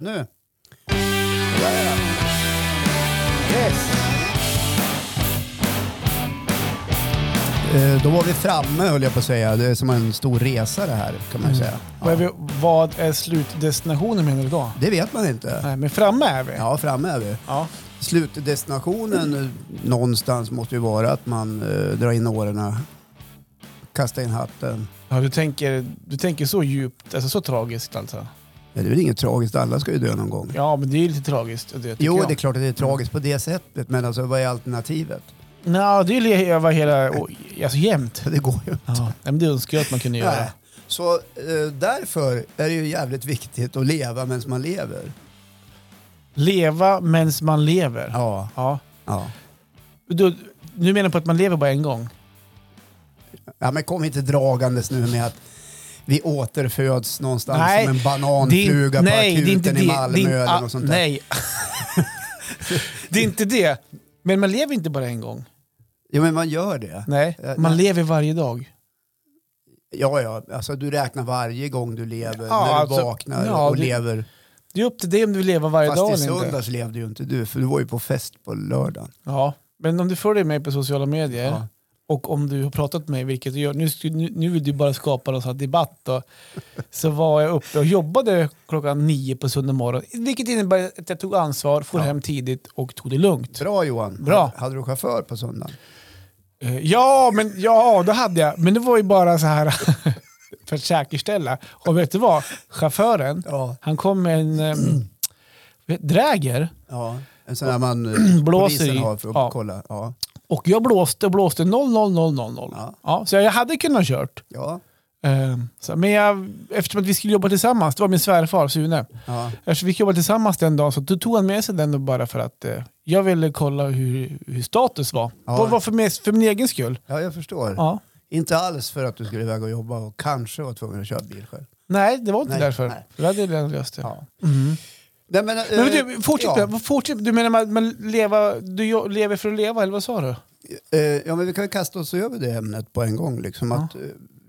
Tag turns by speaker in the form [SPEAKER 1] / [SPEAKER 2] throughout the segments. [SPEAKER 1] Nu. Där är den. Yes. Eh, Då var vi framme höll jag på att säga. Det är som en stor resa det här kan man ju säga.
[SPEAKER 2] Mm. Vad, är vi, vad är slutdestinationen menar du då?
[SPEAKER 1] Det vet man inte.
[SPEAKER 2] Nej, men framme är vi.
[SPEAKER 1] Ja, framme är vi.
[SPEAKER 2] Ja.
[SPEAKER 1] Slutdestinationen eh, någonstans måste ju vara att man eh, drar in åren, kastar in hatten.
[SPEAKER 2] Ja, du, tänker, du tänker så djupt, alltså så tragiskt alltså.
[SPEAKER 1] Ja, det är väl inget tragiskt, alla ska ju dö någon gång.
[SPEAKER 2] Ja, men det är ju lite tragiskt. Det, tycker
[SPEAKER 1] Jo,
[SPEAKER 2] jag.
[SPEAKER 1] det är klart att det är tragiskt på det sättet, men alltså, vad är alternativet?
[SPEAKER 2] Nej, det är ju leva hela, och- alltså jämt.
[SPEAKER 1] Det går ju
[SPEAKER 2] Ja, nej, men det önskar jag att man kunde göra.
[SPEAKER 1] Nej. Så eh, därför är det ju jävligt viktigt att leva medan man lever.
[SPEAKER 2] Leva medan man lever. Ja.
[SPEAKER 1] Ja. ja.
[SPEAKER 2] Du, nu menar du på att man lever bara en gång?
[SPEAKER 1] ja men kom inte dragandes nu med att vi återföds någonstans
[SPEAKER 2] Nej,
[SPEAKER 1] som en bananfluga på akuten i Malmö
[SPEAKER 2] det är-
[SPEAKER 1] eller
[SPEAKER 2] ah,
[SPEAKER 1] något sånt där.
[SPEAKER 2] Nej. det är inte det. Men man lever inte bara en gång.
[SPEAKER 1] Ja, men man gör det.
[SPEAKER 2] Nej,
[SPEAKER 1] Eh,
[SPEAKER 2] man
[SPEAKER 1] nej.
[SPEAKER 2] lever varje dag.
[SPEAKER 1] Ja, ja. Alltså, du räknar varje gång du lever,
[SPEAKER 2] Ja,
[SPEAKER 1] när du
[SPEAKER 2] alltså,
[SPEAKER 1] vaknar
[SPEAKER 2] ja,
[SPEAKER 1] och
[SPEAKER 2] det-
[SPEAKER 1] lever.
[SPEAKER 2] Det är upp till dig om du vill leva varje
[SPEAKER 1] Fast
[SPEAKER 2] dag
[SPEAKER 1] i
[SPEAKER 2] eller inte.
[SPEAKER 1] söndags levde ju inte du, för du var ju på fest på lördagen.
[SPEAKER 2] Ja. Men om du följer mig på sociala medier
[SPEAKER 1] Ja.
[SPEAKER 2] och om du har pratat med mig, vilket du gör, nu, sk- nu, nu vill du bara skapa någon sån här debatt. Då. Så var jag uppe och jobbade klockan nio på söndag morgon, vilket innebär att jag tog ansvar, for
[SPEAKER 1] Ja.
[SPEAKER 2] hem tidigt och tog det lugnt.
[SPEAKER 1] Bra Johan.
[SPEAKER 2] Bra.
[SPEAKER 1] Hade, hade du chaufför på söndagen?
[SPEAKER 2] Eh, Ja, men ja, det hade jag. Men det var ju bara så här för att säkerställa. Och vet du vad? Chauffören,
[SPEAKER 1] Ja.
[SPEAKER 2] han kom med en eh, vet- dräger
[SPEAKER 1] Ja, en sån där man eh,
[SPEAKER 2] Blåser
[SPEAKER 1] polisen
[SPEAKER 2] i.
[SPEAKER 1] har för att
[SPEAKER 2] Ja.
[SPEAKER 1] kolla. Ja.
[SPEAKER 2] och jag blåste och blåste 00000.
[SPEAKER 1] Ja.
[SPEAKER 2] Ja. Ja, så jag hade kunnat kört.
[SPEAKER 1] Ja.
[SPEAKER 2] Eh, så, men jag, eftersom att vi skulle jobba tillsammans, det var min svärfar Sune,
[SPEAKER 1] Ja.
[SPEAKER 2] eftersom vi jobbade tillsammans den dagen så tog han med sig den då bara för att eh, jag ville kolla hur, hur status var.
[SPEAKER 1] Ja.
[SPEAKER 2] Vad var för, min- för min egen skull.
[SPEAKER 1] ja, jag förstår.
[SPEAKER 2] Ja.
[SPEAKER 1] Inte alls för att du skulle iväg och jobba och kanske var tvungen att köra bil själv.
[SPEAKER 2] Nej, det var inte
[SPEAKER 1] Nej,
[SPEAKER 2] därför.
[SPEAKER 1] nej.
[SPEAKER 2] Det hade jag redan löst det.
[SPEAKER 1] Nej, men, eh,
[SPEAKER 2] Men du, fortsätt,
[SPEAKER 1] ja.
[SPEAKER 2] där. fortsätt. Du menar man, man leva, du jo- lever för att leva, eller vad sa du?
[SPEAKER 1] Eh, ja, men vi kan ju kasta oss över det ämnet på en gång. Liksom, att, eh,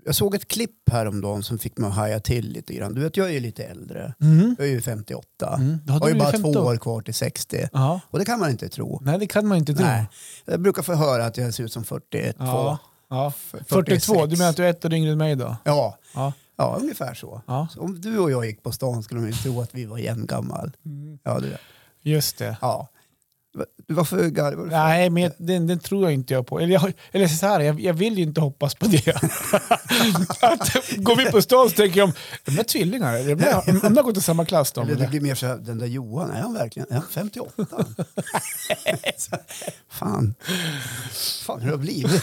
[SPEAKER 1] jag såg ett klipp häromdagen som fick mig att haja till lite grann. Du vet, jag är ju lite äldre. Jag är ju 58.
[SPEAKER 2] Mm, då
[SPEAKER 1] Jag
[SPEAKER 2] hade
[SPEAKER 1] har ju
[SPEAKER 2] du
[SPEAKER 1] bara
[SPEAKER 2] ju 50
[SPEAKER 1] två
[SPEAKER 2] år.
[SPEAKER 1] år kvar till 60.
[SPEAKER 2] Ja.
[SPEAKER 1] Och det kan man inte tro.
[SPEAKER 2] Nej, det kan man inte tro.
[SPEAKER 1] Nej. Jag brukar få höra att jag ser ut som 41.
[SPEAKER 2] Ja. Ja.
[SPEAKER 1] F-
[SPEAKER 2] 42,
[SPEAKER 1] 46.
[SPEAKER 2] du menar att du är ett år yngre än mig då?
[SPEAKER 1] Ja.
[SPEAKER 2] Ja.
[SPEAKER 1] Ja, ungefär så.
[SPEAKER 2] Ja.
[SPEAKER 1] så. Om du och jag gick på stan skulle de ju tro att vi var jämngammal.
[SPEAKER 2] Mm.
[SPEAKER 1] Ja, det,
[SPEAKER 2] Just det.
[SPEAKER 1] ja. Va- Varför garvar du? för?
[SPEAKER 2] Nej, men jag, den, den tror jag inte jag på. Eller, jag, eller så här, jag, jag vill ju inte hoppas på det. att, går vi på stan så tänker jag, om de är tvillingar, eller de har- de har gått i samma klass de.
[SPEAKER 1] Eller det
[SPEAKER 2] Eller?
[SPEAKER 1] blir mer så här, den där Johan, är han verkligen är han 58? Så, Fan. Fan hur det har blivit.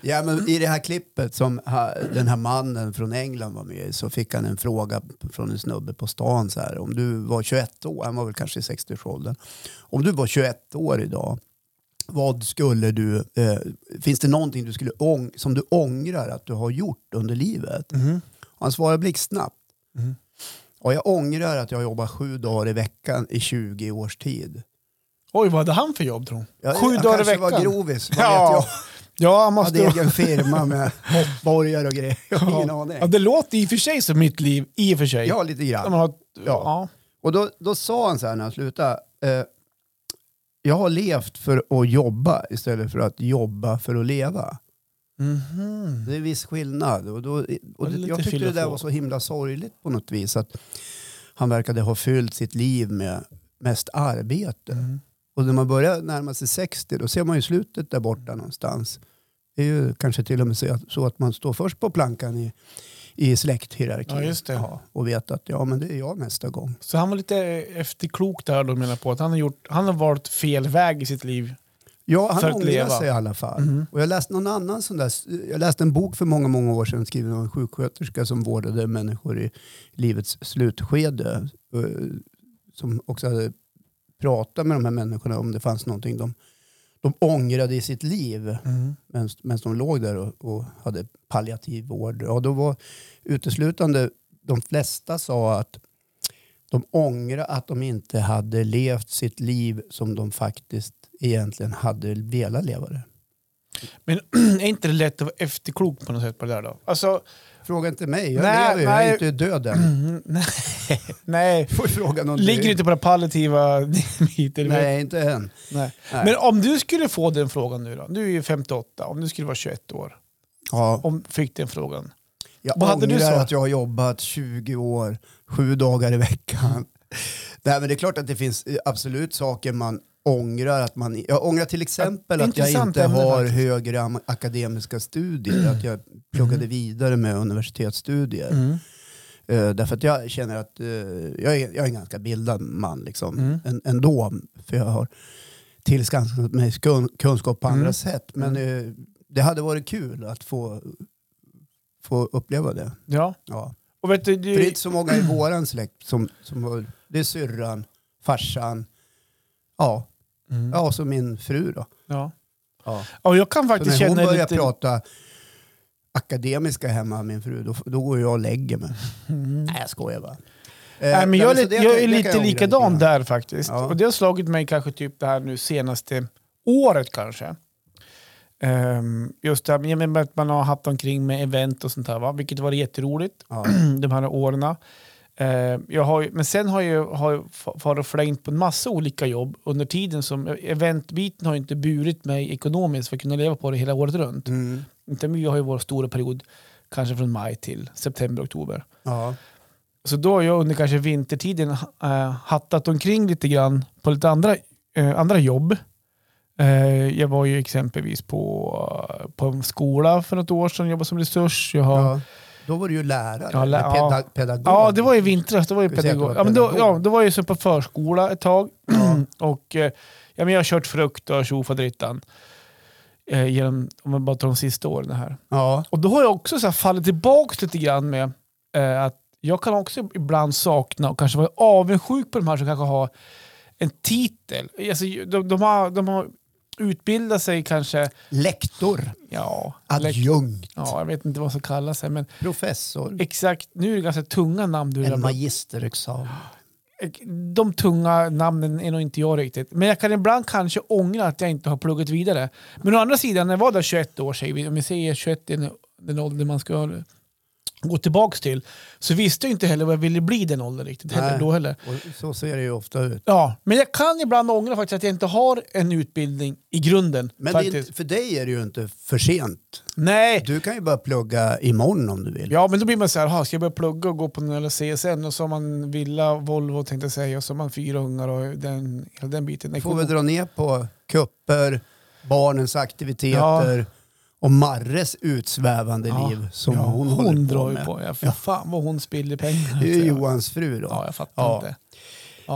[SPEAKER 1] ja, men I det här klippet som ha- den här mannen från England var med i så fick han en fråga från en snubbe på stan. Så här, om du var 21 år, han var väl kanske i 60-årsåldern. Om du var 21 år idag, vad skulle du, eh, finns det någonting du skulle ång- som du ångrar att du har gjort under livet?
[SPEAKER 2] Mhm.
[SPEAKER 1] Och Han svarar blixtsnabbt.
[SPEAKER 2] Mm.
[SPEAKER 1] Och jag ångrar att jag jobbar sju dagar i veckan i 20 års tid.
[SPEAKER 2] Oj, vad hade han för jobb tror hon?
[SPEAKER 1] Jag,
[SPEAKER 2] Sju
[SPEAKER 1] jag
[SPEAKER 2] dagar i
[SPEAKER 1] kanske
[SPEAKER 2] veckan?
[SPEAKER 1] var grovis, vad vet jag.
[SPEAKER 2] ja. ja, han
[SPEAKER 1] Jag
[SPEAKER 2] måste
[SPEAKER 1] hade egen firma med hoppborgar och grejer. Jag har ingen
[SPEAKER 2] ja.
[SPEAKER 1] aning.
[SPEAKER 2] Ja, det låter i och för sig som mitt liv, i och för sig.
[SPEAKER 1] Ja, lite
[SPEAKER 2] Om
[SPEAKER 1] grann.
[SPEAKER 2] man har, ja.
[SPEAKER 1] Och då, då sa han så här när han slutade. Eh, jag har levt för att jobba istället för att jobba för att leva.
[SPEAKER 2] Mm. Mhm.
[SPEAKER 1] Det är en viss skillnad. Och då, och
[SPEAKER 2] är lite
[SPEAKER 1] jag tyckte det där
[SPEAKER 2] filosof.
[SPEAKER 1] var så himla sorgligt på något vis. Att han verkade ha fyllt sitt liv med mest arbete. Och när man börjar närma sig 60 då ser man ju slutet där borta någonstans. Det är ju kanske till och med så att- så att man står först på plankan i, i släkthierarkin.
[SPEAKER 2] Ja, just det.
[SPEAKER 1] och vet att ja, men det är jag nästa gång.
[SPEAKER 2] Så han var lite efterklok där då menar jag på att han har, gjort, han har valt fel väg i sitt liv.
[SPEAKER 1] Ja,
[SPEAKER 2] För
[SPEAKER 1] han
[SPEAKER 2] att
[SPEAKER 1] ångrar
[SPEAKER 2] leva. Mm.
[SPEAKER 1] sig i alla fall. Och jag läste någon annan sån där, jag läste en bok för många, många år sedan skriven av en sjuksköterska som vårdade människor i livets slutskede. eh, Som också hade pratat med de här människorna om det fanns någonting de, de ångrade i sitt liv medan de låg där och, och hade palliativ vård. Ja, då var uteslutande de flesta sa att de ångrar att de inte hade levt sitt liv som de faktiskt egentligen hade velat leva det.
[SPEAKER 2] Men är inte det lätt att vara efterklok på något sätt på det där då? Alltså,
[SPEAKER 1] Fråga inte mig, jag
[SPEAKER 2] Nej,
[SPEAKER 1] lever ju, jag
[SPEAKER 2] nej.
[SPEAKER 1] är inte död än.
[SPEAKER 2] Mm, nej. nej.
[SPEAKER 1] Du får fråga någon
[SPEAKER 2] Ligger du
[SPEAKER 1] du-
[SPEAKER 2] inte på det palliativa diabetes?
[SPEAKER 1] Nej, inte än.
[SPEAKER 2] Nej.
[SPEAKER 1] Nej.
[SPEAKER 2] Men om du skulle få den frågan nu då? Du är ju 58, om du skulle vara 21 år
[SPEAKER 1] Ja,
[SPEAKER 2] om fick den frågan.
[SPEAKER 1] jag
[SPEAKER 2] Vad hade du
[SPEAKER 1] ångrar
[SPEAKER 2] svarat?
[SPEAKER 1] att jag har jobbat 20 år, sju dagar i veckan. Nej, men det är klart att det finns eh, absolut saker man ångrar. Att man, jag ångrar till exempel att jag
[SPEAKER 2] Intressant
[SPEAKER 1] inte
[SPEAKER 2] ämne
[SPEAKER 1] har
[SPEAKER 2] faktiskt.
[SPEAKER 1] högre am- akademiska studier, att jag pluggade
[SPEAKER 2] Mm.
[SPEAKER 1] vidare med universitetsstudier. Eh, därför att jag känner att eh, jag, är, jag är en ganska bildad man liksom,
[SPEAKER 2] Mm.
[SPEAKER 1] en, ändå. För jag har tillskansat mig skun- kunskap på andra
[SPEAKER 2] Mm.
[SPEAKER 1] sätt. Men eh, det hade varit kul att få, få uppleva det.
[SPEAKER 2] Ja.
[SPEAKER 1] Ja.
[SPEAKER 2] Och vet du,
[SPEAKER 1] För det är
[SPEAKER 2] du
[SPEAKER 1] inte så många i
[SPEAKER 2] Mm.
[SPEAKER 1] våran släkt som, som har, det är syrran, farsan, ja,
[SPEAKER 2] Mm.
[SPEAKER 1] ja och så min fru då.
[SPEAKER 2] ja.
[SPEAKER 1] Ja.
[SPEAKER 2] Ja, jag kan
[SPEAKER 1] Så
[SPEAKER 2] faktiskt
[SPEAKER 1] när hon
[SPEAKER 2] känna
[SPEAKER 1] börjar
[SPEAKER 2] lite...
[SPEAKER 1] prata akademiska hemma, min fru, då, då går jag och lägger mig. Nej, jag skojar bara. Eh,
[SPEAKER 2] Mm. Nej, men jag, är
[SPEAKER 1] så
[SPEAKER 2] lite,
[SPEAKER 1] det kan-
[SPEAKER 2] jag
[SPEAKER 1] det
[SPEAKER 2] är
[SPEAKER 1] kan
[SPEAKER 2] lite
[SPEAKER 1] ångra
[SPEAKER 2] likadan
[SPEAKER 1] grann.
[SPEAKER 2] där faktiskt.
[SPEAKER 1] Ja.
[SPEAKER 2] Och det har slagit mig kanske typ det här nu senaste året kanske. Ehm, just det här jag menar att man har haft omkring med event och sånt här, va? vilket var jätteroligt
[SPEAKER 1] Ja.
[SPEAKER 2] de här åren. Ehm, jag har, ju- men sen har jag, har jag fa- far och flängt på en massa olika jobb under tiden som eventbiten har ju inte burit mig ekonomiskt för att kunna leva på det hela året runt.
[SPEAKER 1] Mm.
[SPEAKER 2] Utan vi har ju vår stora period kanske från maj till september, oktober.
[SPEAKER 1] Ja.
[SPEAKER 2] Så då har jag under kanske vintertiden eh, hattat omkring lite grann på lite andra, eh, andra jobb. Eh, jag var ju exempelvis på, på en skola för något år sedan, jobbade som resurs. Jag har, ja.
[SPEAKER 1] Ja. Då var du ju lärare,
[SPEAKER 2] Ja, lä-
[SPEAKER 1] eller peda- pedagog.
[SPEAKER 2] det var i vintras. Det var ju
[SPEAKER 1] Ska vi säga att du
[SPEAKER 2] pedagog.
[SPEAKER 1] var
[SPEAKER 2] Ja, men då,
[SPEAKER 1] pedagog?
[SPEAKER 2] ja, då var jag ju så på förskola ett tag.
[SPEAKER 1] Ja.
[SPEAKER 2] Och, eh, ja, men jag har kört frukt och tjofaderittan. Eh, genom, om man bara tar de sista åren här.
[SPEAKER 1] Ja.
[SPEAKER 2] Och då har jag också så här fallit tillbaka lite grann med eh, att jag kan också ibland sakna och kanske vara avundsjuk på de här som kanske har en titel. Alltså, de, de, har, de har utbildat sig kanske,
[SPEAKER 1] Lektor,
[SPEAKER 2] ja, lek-
[SPEAKER 1] adjunkt,
[SPEAKER 2] ja, jag vet inte vad som kallas det, men
[SPEAKER 1] professor,
[SPEAKER 2] exakt, nu är det ganska tunga namn du
[SPEAKER 1] en
[SPEAKER 2] rabblar
[SPEAKER 1] magisterexamen.
[SPEAKER 2] de tunga namnen är nog inte jag riktigt. Men jag kan ibland kanske ångra att jag inte har pluggat vidare. Men å andra sidan, när jag var där 21 år, säger vi, om vi säger 21 är den- den ålder man ska gå tillbaka till, så visste jag inte heller vad jag ville bli i den åldern riktigt. Heller,
[SPEAKER 1] Nej.
[SPEAKER 2] då heller.
[SPEAKER 1] Och så ser det ju ofta ut.
[SPEAKER 2] Ja, men jag kan ibland ångra faktiskt att jag inte har en utbildning i grunden.
[SPEAKER 1] Men det är
[SPEAKER 2] faktiskt.
[SPEAKER 1] inte, för dig är det ju inte för sent.
[SPEAKER 2] Nej,
[SPEAKER 1] Du kan ju bara plugga imorgon om du vill.
[SPEAKER 2] Ja, men då blir man så här, "Ha, ska jag börja plugga och gå på någon jävla CSN? Och så har man villa, Volvo tänkte jag säga, och så har man fyra ungar och den, hela den biten.
[SPEAKER 1] Får vi dra ner på kupper, barnens aktiviteter och Marres utsvävande
[SPEAKER 2] Ja.
[SPEAKER 1] liv som
[SPEAKER 2] Ja,
[SPEAKER 1] hon, håller på
[SPEAKER 2] drar ju
[SPEAKER 1] med.
[SPEAKER 2] på. Ja, för fan vad hon spiller pengar.
[SPEAKER 1] Det är ju
[SPEAKER 2] Så jag-
[SPEAKER 1] Johans fru då.
[SPEAKER 2] Ja, jag fattar
[SPEAKER 1] Ja.
[SPEAKER 2] inte. Ja,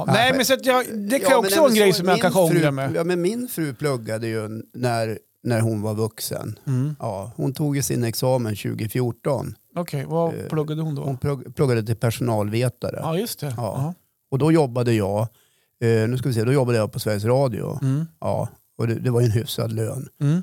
[SPEAKER 1] Ja,
[SPEAKER 2] nej,
[SPEAKER 1] för-
[SPEAKER 2] men så att jag, det kan
[SPEAKER 1] Ja, men
[SPEAKER 2] också
[SPEAKER 1] nej,
[SPEAKER 2] vara en
[SPEAKER 1] men
[SPEAKER 2] grej
[SPEAKER 1] så-
[SPEAKER 2] som jag
[SPEAKER 1] min
[SPEAKER 2] kanske ångrar
[SPEAKER 1] fru-
[SPEAKER 2] mig.
[SPEAKER 1] Ja, men min fru pluggade ju när, när hon var vuxen.
[SPEAKER 2] Mm.
[SPEAKER 1] Ja, hon tog ju sin examen 2014.
[SPEAKER 2] Okej, vad
[SPEAKER 1] Eh,
[SPEAKER 2] pluggade hon då?
[SPEAKER 1] Hon plugg- pluggade till personalvetare.
[SPEAKER 2] ja, just det. Ja.
[SPEAKER 1] Ja. Och då jobbade jag, eh, nu ska vi se, då jobbade jag på Sveriges Radio.
[SPEAKER 2] Mm.
[SPEAKER 1] Ja, och det, det var ju en hyfsad lön.
[SPEAKER 2] Mm.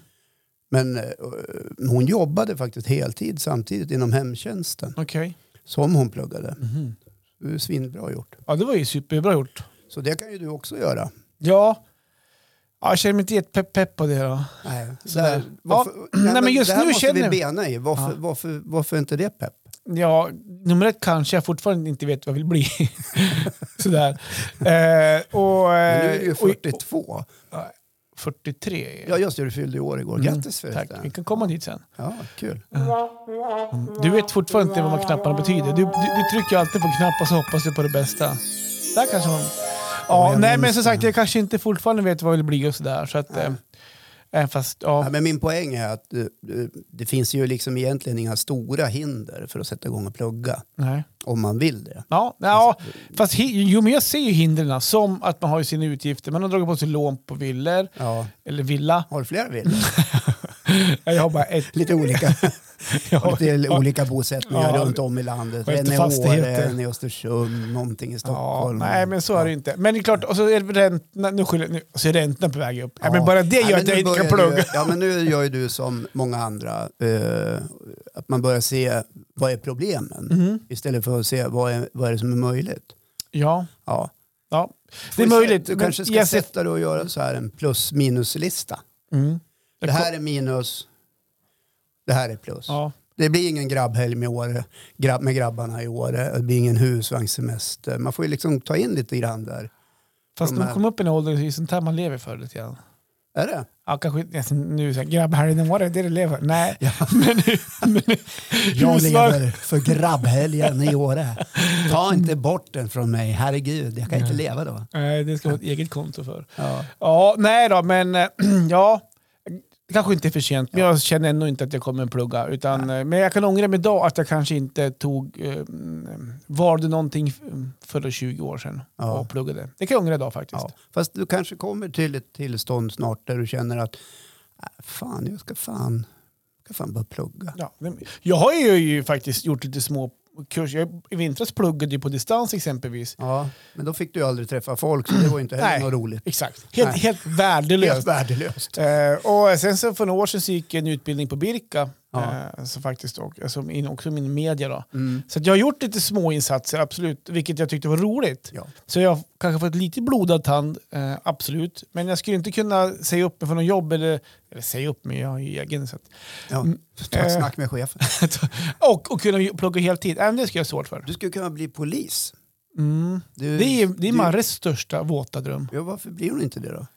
[SPEAKER 1] Men eh, eh, hon jobbade faktiskt heltid samtidigt inom hemtjänsten
[SPEAKER 2] Okej.
[SPEAKER 1] som hon pluggade.
[SPEAKER 2] Mhm.
[SPEAKER 1] Det är svinbra gjort.
[SPEAKER 2] Ja, det var ju superbra gjort.
[SPEAKER 1] Så det kan ju du också göra.
[SPEAKER 2] Ja. ja jag känner mig inte jättepepp på det då.
[SPEAKER 1] Nej,
[SPEAKER 2] Sådär.
[SPEAKER 1] där, varför,
[SPEAKER 2] Ja,
[SPEAKER 1] nej, men just
[SPEAKER 2] det här
[SPEAKER 1] nu
[SPEAKER 2] måste
[SPEAKER 1] känner
[SPEAKER 2] vi
[SPEAKER 1] vi bena i. Varför,
[SPEAKER 2] Ja.
[SPEAKER 1] varför, varför inte det pepp?
[SPEAKER 2] Ja, nummer ett kanske jag fortfarande inte vet vad jag vill bli. Sådär. Eh, och,
[SPEAKER 1] Men
[SPEAKER 2] eh,
[SPEAKER 1] nu är du ju
[SPEAKER 2] och-
[SPEAKER 1] 42.
[SPEAKER 2] 43.
[SPEAKER 1] Ja just det, du fyllde i år igår.
[SPEAKER 2] Mm,
[SPEAKER 1] Grattis
[SPEAKER 2] Tack, vi
[SPEAKER 1] förresten.
[SPEAKER 2] kan komma dit sen.
[SPEAKER 1] Ja, kul.
[SPEAKER 2] Du vet fortfarande inte vad knapparna betyder. Du, du, du trycker alltid på knappar så hoppas du på det bästa. Där kanske man... Ja,
[SPEAKER 1] jag
[SPEAKER 2] nej
[SPEAKER 1] minns
[SPEAKER 2] men som
[SPEAKER 1] det.
[SPEAKER 2] sagt jag kanske inte fortfarande vet vad jag vill bli och sådär. Så att, eh, eh, fast ja,
[SPEAKER 1] Ja, men min poäng är att eh, eh, det finns ju liksom egentligen inga stora hinder för att sätta igång och plugga
[SPEAKER 2] nej.
[SPEAKER 1] om man vill det.
[SPEAKER 2] Ja, ja fast hi- jo, men jag ser ju hindren alltså, som att man har ju sina utgifter. Man har dragit på sig lån på villor,
[SPEAKER 1] Ja.
[SPEAKER 2] eller villa.
[SPEAKER 1] Har du flera villor?
[SPEAKER 2] Ja, Jag har bara ett.
[SPEAKER 1] Lite olika,
[SPEAKER 2] Jag har,
[SPEAKER 1] lite olika bosättningar
[SPEAKER 2] Ja.
[SPEAKER 1] runt om i landet.
[SPEAKER 2] Och inte
[SPEAKER 1] En i Åre,
[SPEAKER 2] fastigheter.
[SPEAKER 1] en i Östersund, någonting i
[SPEAKER 2] ja,
[SPEAKER 1] Stockholm.
[SPEAKER 2] nej men så är det ju inte. Men det är klart, och så är det räntorna, nu skyller, nu, och så är räntorna på väg upp. Ja. men bara det
[SPEAKER 1] Nej,
[SPEAKER 2] gör
[SPEAKER 1] men
[SPEAKER 2] att jag
[SPEAKER 1] nu
[SPEAKER 2] inte kan
[SPEAKER 1] börjar du-
[SPEAKER 2] plugga.
[SPEAKER 1] Ja, men nu gör ju du som många andra, eh, att man börjar se vad är problemen
[SPEAKER 2] Mhm.
[SPEAKER 1] istället för att se vad är, vad är det som är möjligt.
[SPEAKER 2] Ja,
[SPEAKER 1] Ja.
[SPEAKER 2] ja. Det
[SPEAKER 1] Får
[SPEAKER 2] är
[SPEAKER 1] vi se-
[SPEAKER 2] möjligt.
[SPEAKER 1] Du
[SPEAKER 2] men
[SPEAKER 1] kanske ska
[SPEAKER 2] jag ser-
[SPEAKER 1] sätta dig och göra så här en plus minus-lista.
[SPEAKER 2] Mm.
[SPEAKER 1] Det här är minus, det här är plus.
[SPEAKER 2] Ja.
[SPEAKER 1] Det blir ingen grabbhelg med, år, grabb, med grabbarna i år. Det blir ingen husvagnssemester. Man får ju liksom ta in lite grann där.
[SPEAKER 2] Fast
[SPEAKER 1] de
[SPEAKER 2] när man
[SPEAKER 1] här-
[SPEAKER 2] kommer upp i en ålder, det är ju sånt här man lever för lite grann.
[SPEAKER 1] Är det?
[SPEAKER 2] Ja, kanske inte alltså, nu så här, grabbhelgen, var det det du lever? Nej, men, men
[SPEAKER 1] Jag
[SPEAKER 2] husvagn-
[SPEAKER 1] lever för grabbhelgen i Åre. Ta inte bort den från mig, herregud. Jag kan inte leva då.
[SPEAKER 2] Nej, det ska vara ett eget konto för.
[SPEAKER 1] Ja.
[SPEAKER 2] Ja, nej då, men eh, ja. Kanske inte är för sent, men jag känner ändå inte att jag kommer plugga. Utan, eh, men jag kan ångra mig idag att jag kanske inte tog, eh, mm, valde någonting f- för 20 år sedan
[SPEAKER 1] Ja.
[SPEAKER 2] och pluggade. Det kan jag ångra idag faktiskt.
[SPEAKER 1] Ja. Fast du kanske kommer till ett tillstånd snart där du känner att "Äh, fan, jag ska fan, jag ska fan börja plugga.
[SPEAKER 2] Ja. men Jag har ju, ju faktiskt gjort lite små kurser. Jag, I vintras pluggade jag på distans exempelvis.
[SPEAKER 1] Ja, men då fick du ju aldrig träffa folk så det var ju inte heller
[SPEAKER 2] Nej.
[SPEAKER 1] något roligt.
[SPEAKER 2] Exakt. Helt,
[SPEAKER 1] Nej.
[SPEAKER 2] helt värdelöst.
[SPEAKER 1] Helt värdelöst.
[SPEAKER 2] Eh, och sen så för några år sedan så gick jag en utbildning på Birka,
[SPEAKER 1] Ja.
[SPEAKER 2] eh, så faktiskt, och, alltså, in, också min media. Då.
[SPEAKER 1] Mm.
[SPEAKER 2] Så att jag har gjort lite små insatser, absolut, vilket jag tyckte var roligt.
[SPEAKER 1] Ja.
[SPEAKER 2] Så jag har kanske fått lite blodad tand, eh, absolut. Men jag skulle inte kunna säga upp mig från något jobb, eller, eller säga upp mig, jag har ju egen. Så att,
[SPEAKER 1] Ja. Ta ett
[SPEAKER 2] Eh.
[SPEAKER 1] snack med chefen.
[SPEAKER 2] och, och kunna plugga heltid, även det skulle jag ha svårt för.
[SPEAKER 1] Du skulle kunna bli polis.
[SPEAKER 2] Mm.
[SPEAKER 1] Du,
[SPEAKER 2] Det är, det är
[SPEAKER 1] du-
[SPEAKER 2] Marres största våta dröm.
[SPEAKER 1] Ja, varför blir hon inte det då?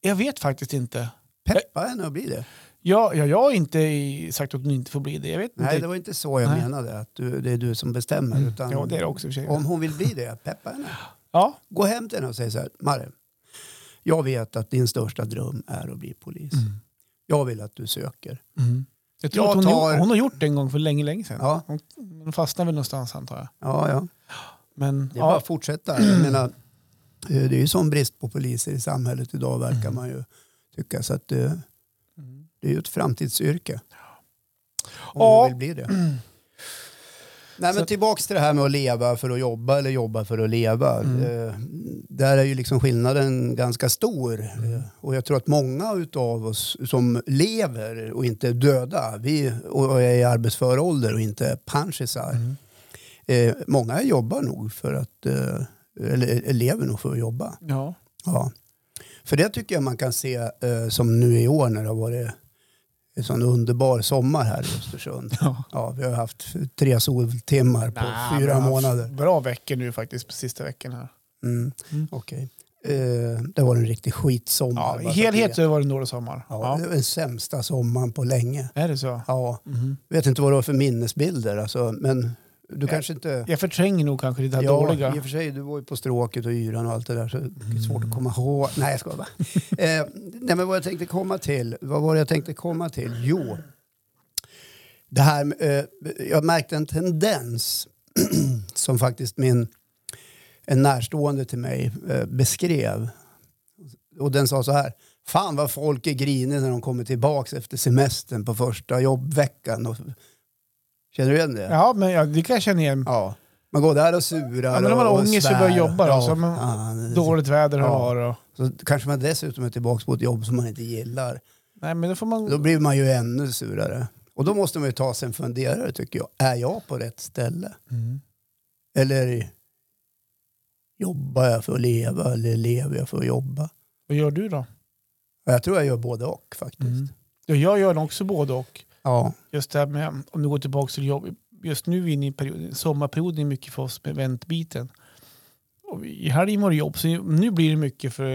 [SPEAKER 2] Jag vet faktiskt inte.
[SPEAKER 1] Peppa henne att bli det.
[SPEAKER 2] Jag, jag, jag har inte i- sagt att hon inte får bli det. Jag vet
[SPEAKER 1] Nej,
[SPEAKER 2] inte.
[SPEAKER 1] det var inte så jag
[SPEAKER 2] Nej. Mm.
[SPEAKER 1] menade, att du, det är du som bestämmer. Utan
[SPEAKER 2] Ja, det är det också i och för sig.
[SPEAKER 1] Om hon vill bli det, peppa henne.
[SPEAKER 2] Ja,
[SPEAKER 1] Gå hem till henne och säg så här, Marre, jag vet att din största dröm är att bli polis.
[SPEAKER 2] Mm.
[SPEAKER 1] Jag vill att du söker.
[SPEAKER 2] Jag tror
[SPEAKER 1] Jag
[SPEAKER 2] att hon,
[SPEAKER 1] tar-
[SPEAKER 2] hon har gjort det en gång för länge, länge sedan.
[SPEAKER 1] Ja.
[SPEAKER 2] Hon, hon fastnade väl någonstans antar jag.
[SPEAKER 1] Ja, ja.
[SPEAKER 2] Men,
[SPEAKER 1] Det är bara
[SPEAKER 2] ja.
[SPEAKER 1] att fortsätta. Jag menar, eh, det är ju sån brist på poliser i samhället idag verkar man ju tycka. Så att eh,
[SPEAKER 2] Mm.
[SPEAKER 1] det är ju ett framtidsyrke. Om
[SPEAKER 2] Ja.
[SPEAKER 1] du vill bli det. Nej, men
[SPEAKER 2] Så-
[SPEAKER 1] tillbaks till det här med att leva för att jobba eller jobba för att leva. Eh, Där är ju liksom skillnaden ganska stor. Eh, Och jag tror att många av oss som lever och inte är döda vi, och är i arbetsför ålder och inte är panschisar. Eh, många jobbar nog för att, eh, eller lever nog för att jobba.
[SPEAKER 2] Ja.
[SPEAKER 1] Ja. För det tycker jag man kan se eh, som nu i år när det har varit en sån underbar sommar här i Östersund.
[SPEAKER 2] Ja.
[SPEAKER 1] Ja, vi har haft tre soltimmar på
[SPEAKER 2] Nej,
[SPEAKER 1] fyra
[SPEAKER 2] men alltså.
[SPEAKER 1] månader.
[SPEAKER 2] Bra veckor nu faktiskt, på sista veckan här.
[SPEAKER 1] Mm.
[SPEAKER 2] Mm.
[SPEAKER 1] Okej. Eh, det var en riktig skitsommar.
[SPEAKER 2] Ja,
[SPEAKER 1] bara
[SPEAKER 2] I
[SPEAKER 1] så att
[SPEAKER 2] helhet
[SPEAKER 1] det-
[SPEAKER 2] så var det en dålig sommar.
[SPEAKER 1] Ja,
[SPEAKER 2] Ja.
[SPEAKER 1] det var den sämsta sommaren på länge.
[SPEAKER 2] Är det så?
[SPEAKER 1] Ja,
[SPEAKER 2] Mhm.
[SPEAKER 1] vet inte vad det var för minnesbilder alltså, men du
[SPEAKER 2] Eh.
[SPEAKER 1] kanske inte...
[SPEAKER 2] Jag förtränger nog kanske det här dåliga.
[SPEAKER 1] i och för sig, du var ju på stråket och yran och allt det där så det är svårt att
[SPEAKER 2] Mm.
[SPEAKER 1] komma ihåg. Nej, jag skojar bara. eh, nej, men vad jag tänkte komma till, vad var det jag tänkte komma till? Jo, det här, med, eh, jag märkte en tendens som faktiskt min, en närstående till mig eh, beskrev. Och den sa så här, fan vad folk är griniga när de kommer tillbaka efter semestern på första jobbveckan. Och, känner du igen det?
[SPEAKER 2] Ja, men ja, det kan jag känna igen.
[SPEAKER 1] Ja. Man går där och surar
[SPEAKER 2] Ja, men om man
[SPEAKER 1] och
[SPEAKER 2] har ångest och
[SPEAKER 1] svär.
[SPEAKER 2] börjar jobba alltså,
[SPEAKER 1] Ja,
[SPEAKER 2] då, så man-
[SPEAKER 1] fan.
[SPEAKER 2] Dåligt väder
[SPEAKER 1] Ja.
[SPEAKER 2] har och...
[SPEAKER 1] Så kanske man dessutom är tillbaka på ett jobb som man inte gillar.
[SPEAKER 2] Nej, men då får
[SPEAKER 1] Då
[SPEAKER 2] man...
[SPEAKER 1] blir man ju ännu surare. Och då måste man ju ta sig en funderare tycker jag. Är jag på rätt ställe?
[SPEAKER 2] Mm.
[SPEAKER 1] Eller jobbar jag för att leva eller lever jag för att jobba?
[SPEAKER 2] Vad gör du då?
[SPEAKER 1] Och Jag tror jag gör både och faktiskt.
[SPEAKER 2] Mm. Ja, jag gör nog också både och.
[SPEAKER 1] Ja.
[SPEAKER 2] just det här med, om du går tillbaka till jobb, just nu inne i perioden, sommarperioden är mycket för oss med eventbiten. Och I helgen var det jobb, så nu blir det mycket för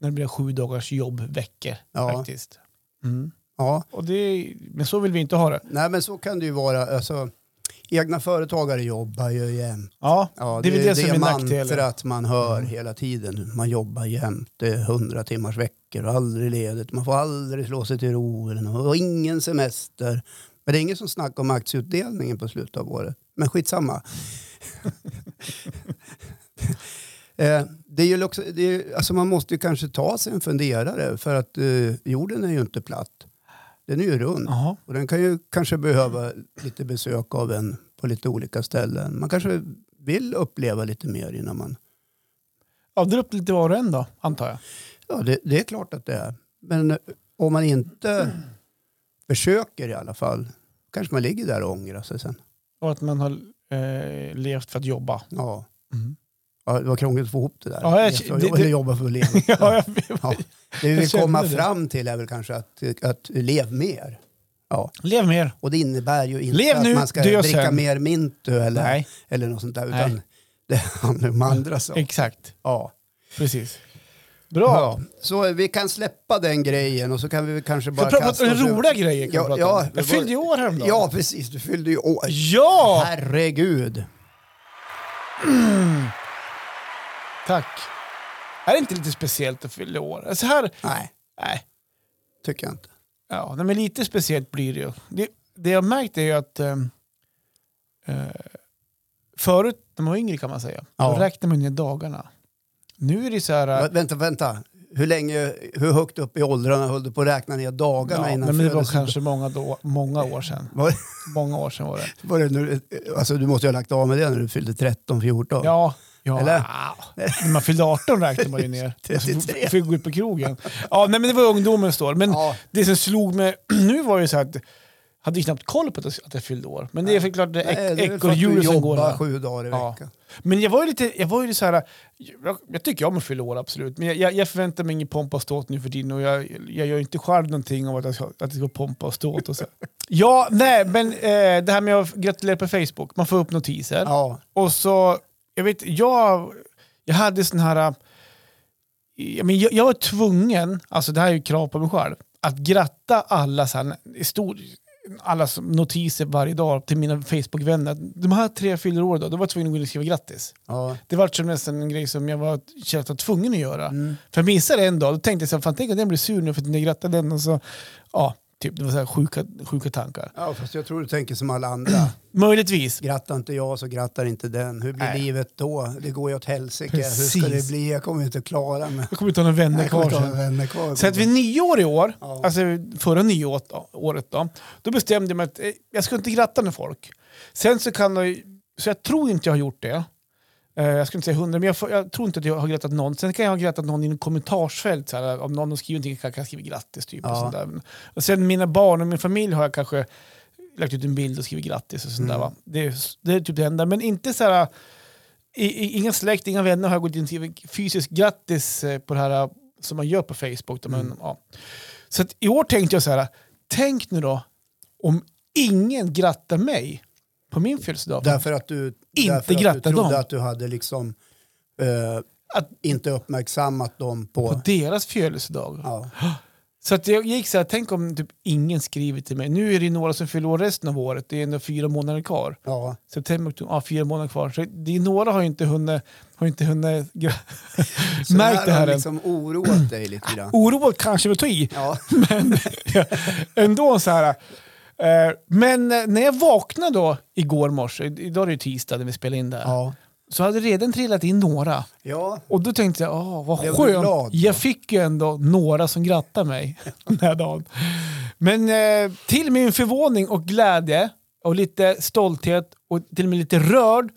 [SPEAKER 2] när det blir sju dagars jobbveckor
[SPEAKER 1] Ja.
[SPEAKER 2] faktiskt. Mm.
[SPEAKER 1] ja.
[SPEAKER 2] Och det, men så vill vi inte ha det.
[SPEAKER 1] Nej men så kan det ju vara. Alltså, egna företagare jobbar ju jämt.
[SPEAKER 2] Ja,
[SPEAKER 1] Ja,
[SPEAKER 2] det är väl det, som är nackdelen. Mm.
[SPEAKER 1] mantrat man hör hela tiden. Man jobbar jämt, det är hundra timmars veckor och aldrig ledigt. Man får aldrig slå sig till ro eller något. och ingen semester. Men det är ingen som snackar om aktieutdelningen på slutet av året. Men skitsamma. Eh, det är ju också, det är, ju- alltså man måste ju kanske ta sig en funderare för att eh, jorden är ju inte platt. Den är ju rund.
[SPEAKER 2] Jaha.
[SPEAKER 1] Och den kan ju kanske behöva lite besök av en på lite olika ställen. Man kanske vill uppleva lite mer innan man...
[SPEAKER 2] Ja, dra upp lite var och en då, antar jag.
[SPEAKER 1] Ja, det, det är klart att det är. Men om man inte försöker i alla fall, kanske man ligger där och ångrar sig sen.
[SPEAKER 2] Och att man har eh, levt för att jobba.
[SPEAKER 1] Ja.
[SPEAKER 2] Mm.
[SPEAKER 1] Ja, det var krångligt att få ihop det där.
[SPEAKER 2] Ja, jag-
[SPEAKER 1] Leva och
[SPEAKER 2] det-
[SPEAKER 1] jobba-
[SPEAKER 2] det-
[SPEAKER 1] jobba för att leva.
[SPEAKER 2] Ja, jag vet.
[SPEAKER 1] Ja. Det vi
[SPEAKER 2] Jag
[SPEAKER 1] vill
[SPEAKER 2] kände
[SPEAKER 1] komma
[SPEAKER 2] det.
[SPEAKER 1] fram till är väl kanske att, att lev mer. Ja.
[SPEAKER 2] Lev mer.
[SPEAKER 1] Och det innebär ju inte
[SPEAKER 2] Lev
[SPEAKER 1] att
[SPEAKER 2] nu,
[SPEAKER 1] man ska
[SPEAKER 2] dö
[SPEAKER 1] dricka
[SPEAKER 2] sen.
[SPEAKER 1] mer mintu eller,
[SPEAKER 2] Nej.
[SPEAKER 1] eller något sånt där.
[SPEAKER 2] Nej.
[SPEAKER 1] Utan det handlar om andra saker.
[SPEAKER 2] Exakt.
[SPEAKER 1] Ja.
[SPEAKER 2] Precis.
[SPEAKER 1] Ja.
[SPEAKER 2] Bra.
[SPEAKER 1] Så vi kan släppa den grejen och så kan vi väl kanske bara
[SPEAKER 2] Ska prata
[SPEAKER 1] kasta
[SPEAKER 2] om
[SPEAKER 1] oss över-
[SPEAKER 2] roliga grejer. Kan
[SPEAKER 1] Ja,
[SPEAKER 2] vi prata
[SPEAKER 1] ja,
[SPEAKER 2] om.
[SPEAKER 1] det
[SPEAKER 2] Jag
[SPEAKER 1] var-
[SPEAKER 2] fyllde ju år häromdagen.
[SPEAKER 1] Ja, precis. Du fyllde ju år.
[SPEAKER 2] ja!
[SPEAKER 1] Herregud.
[SPEAKER 2] Tack. Är det inte lite speciellt att fylla år? Alltså här,
[SPEAKER 1] Nej,
[SPEAKER 2] nej.
[SPEAKER 1] tycker jag inte.
[SPEAKER 2] Ja, nej, men lite speciellt blir det ju. Det, det jag märkt är ju att eh, eh, förut när man var yngre kan man säga,
[SPEAKER 1] Ja.
[SPEAKER 2] då räknade man ner dagarna. Nu är det så här... eh,
[SPEAKER 1] Va- Vänta, vänta. Hur, länge, hur högt upp i åldrarna höll du på att räkna ner dagarna
[SPEAKER 2] Ja,
[SPEAKER 1] innan
[SPEAKER 2] men det var
[SPEAKER 1] födelsedag?
[SPEAKER 2] kanske många, då, många år sedan.
[SPEAKER 1] Var,
[SPEAKER 2] Många år sedan var det.
[SPEAKER 1] var det nu, alltså, du måste ju ha lagt av med det när du fyllde 13, 14.
[SPEAKER 2] Ja, ja.
[SPEAKER 1] Eller?
[SPEAKER 2] ah, När man fyllde 18 räknade man ju ner.
[SPEAKER 1] 33.
[SPEAKER 2] Fick gå ut på krogen. Ja, nej, men det var ungdomens år. Men
[SPEAKER 1] Ja.
[SPEAKER 2] det som slog mig nu var ju så att jag hade ju knappt koll på att jag, att jag fyllde år. Men det är förklart det
[SPEAKER 1] Nej,
[SPEAKER 2] är
[SPEAKER 1] det är väl för att du
[SPEAKER 2] ekorrhjulet som går.
[SPEAKER 1] jobbar
[SPEAKER 2] här.
[SPEAKER 1] sju dagar i
[SPEAKER 2] Ja.
[SPEAKER 1] veckan.
[SPEAKER 2] Men jag var ju lite, jag var ju så här, jag, jag tycker om att fylla år absolut, men jag- jag, jag förväntar mig ingen pompa och ståt nu för tiden och jag, jag gör ju inte själv någonting om att jag ska, att jag ska pompa och ståt och så. ja, nej, men eh, det här med att gratulera på Facebook, man får upp notiser.
[SPEAKER 1] Ja.
[SPEAKER 2] Och så, jag vet, jag, jag hade sån här, eh, jag, men jag, jag var tvungen, alltså det här är ju krav på mig själv, att gratta alla så här, i stor, alla som- notiser varje dag till mina Facebook-vänner. De här tre fyller år då, då var jag tvungen att gå in och skriva grattis.
[SPEAKER 1] Ja.
[SPEAKER 2] Det var som nästan en grej som jag var, kände att jag var tvungen att göra.
[SPEAKER 1] Mm.
[SPEAKER 2] För jag missade en dag, då tänkte jag så här, fan tänk om den blir sur nu för att jag grattade den och så, ja, typ, det var så här sjuka, sjuka tankar.
[SPEAKER 1] ja, fast jag tror du tänker som alla andra.
[SPEAKER 2] Möjligtvis.
[SPEAKER 1] Grattar inte jag så grattar inte den. Hur blir
[SPEAKER 2] Nej.
[SPEAKER 1] livet då? Det går ju åt helsike. Hur ska
[SPEAKER 2] Precis.
[SPEAKER 1] det bli? Jag kommer inte klara mig.
[SPEAKER 2] Jag kommer inte ha några vänner
[SPEAKER 1] Jag kommer
[SPEAKER 2] kvar
[SPEAKER 1] inte ha
[SPEAKER 2] sen.
[SPEAKER 1] några vänner kvar.
[SPEAKER 2] Så att vid nyår i år,
[SPEAKER 1] Ja.
[SPEAKER 2] alltså förra nyåret året då, då bestämde jag mig att eh, jag ska inte gratta med folk. Sen så kan jag, ju- så jag tror inte jag har gjort det. Eh, Jag skulle inte säga hundra, men jag, får- jag tror inte att jag har grattat någon. Sen kan jag ha grattat någon i en kommentarsfält. Så här, om någon har skrivit någonting kan jag skriva grattis. Typ, och
[SPEAKER 1] Ja.
[SPEAKER 2] sånt där. Och sen mina barn och min familj har jag kanske lagt ut en bild och skrivit grattis. och sånt där, va? Det, är- det är typ det enda. Men inte så här, i, i, inga släkt, inga vänner har jag gått in och skrivit fysiskt grattis eh, på det här eh, som man gör på Facebook. Där man, ja. Så att i år tänkte jag så här, tänk nu då om ingen grattar mig på min födelsedag.
[SPEAKER 1] Därför att du,
[SPEAKER 2] Inte
[SPEAKER 1] därför att
[SPEAKER 2] gratta
[SPEAKER 1] du trodde
[SPEAKER 2] dem.
[SPEAKER 1] att du hade liksom eh,
[SPEAKER 2] Att,
[SPEAKER 1] inte uppmärksammat dem på...
[SPEAKER 2] på deras födelsedag.
[SPEAKER 1] ja.
[SPEAKER 2] Så att jag gick så här, tänk om typ ingen skriver till mig. Nu är det ju några som fyller år resten av året, det är ändå fyra månader kvar.
[SPEAKER 1] Ja.
[SPEAKER 2] September, oktober, ja, fyra månader kvar. Så det är några har ju inte hunnit, har ju inte hunnit gra-
[SPEAKER 1] Så
[SPEAKER 2] märkt det här
[SPEAKER 1] har
[SPEAKER 2] än.
[SPEAKER 1] liksom oroat dig lite grann.
[SPEAKER 2] Oroat kanske vi tar i,
[SPEAKER 1] Ja.
[SPEAKER 2] men ändå så här. eh, Men eh, när jag vaknade då igår morse, i- idag är det ju tisdag när vi spelar in det här,
[SPEAKER 1] Ja.
[SPEAKER 2] så hade det redan trillat in några.
[SPEAKER 1] ja.
[SPEAKER 2] Och då tänkte jag, åh vad
[SPEAKER 1] Blev du
[SPEAKER 2] skönt.
[SPEAKER 1] glad då?
[SPEAKER 2] jag fick ju ändå några som grattade mig den här dagen. Men eh, till min förvåning och glädje och lite stolthet och till och med lite rörd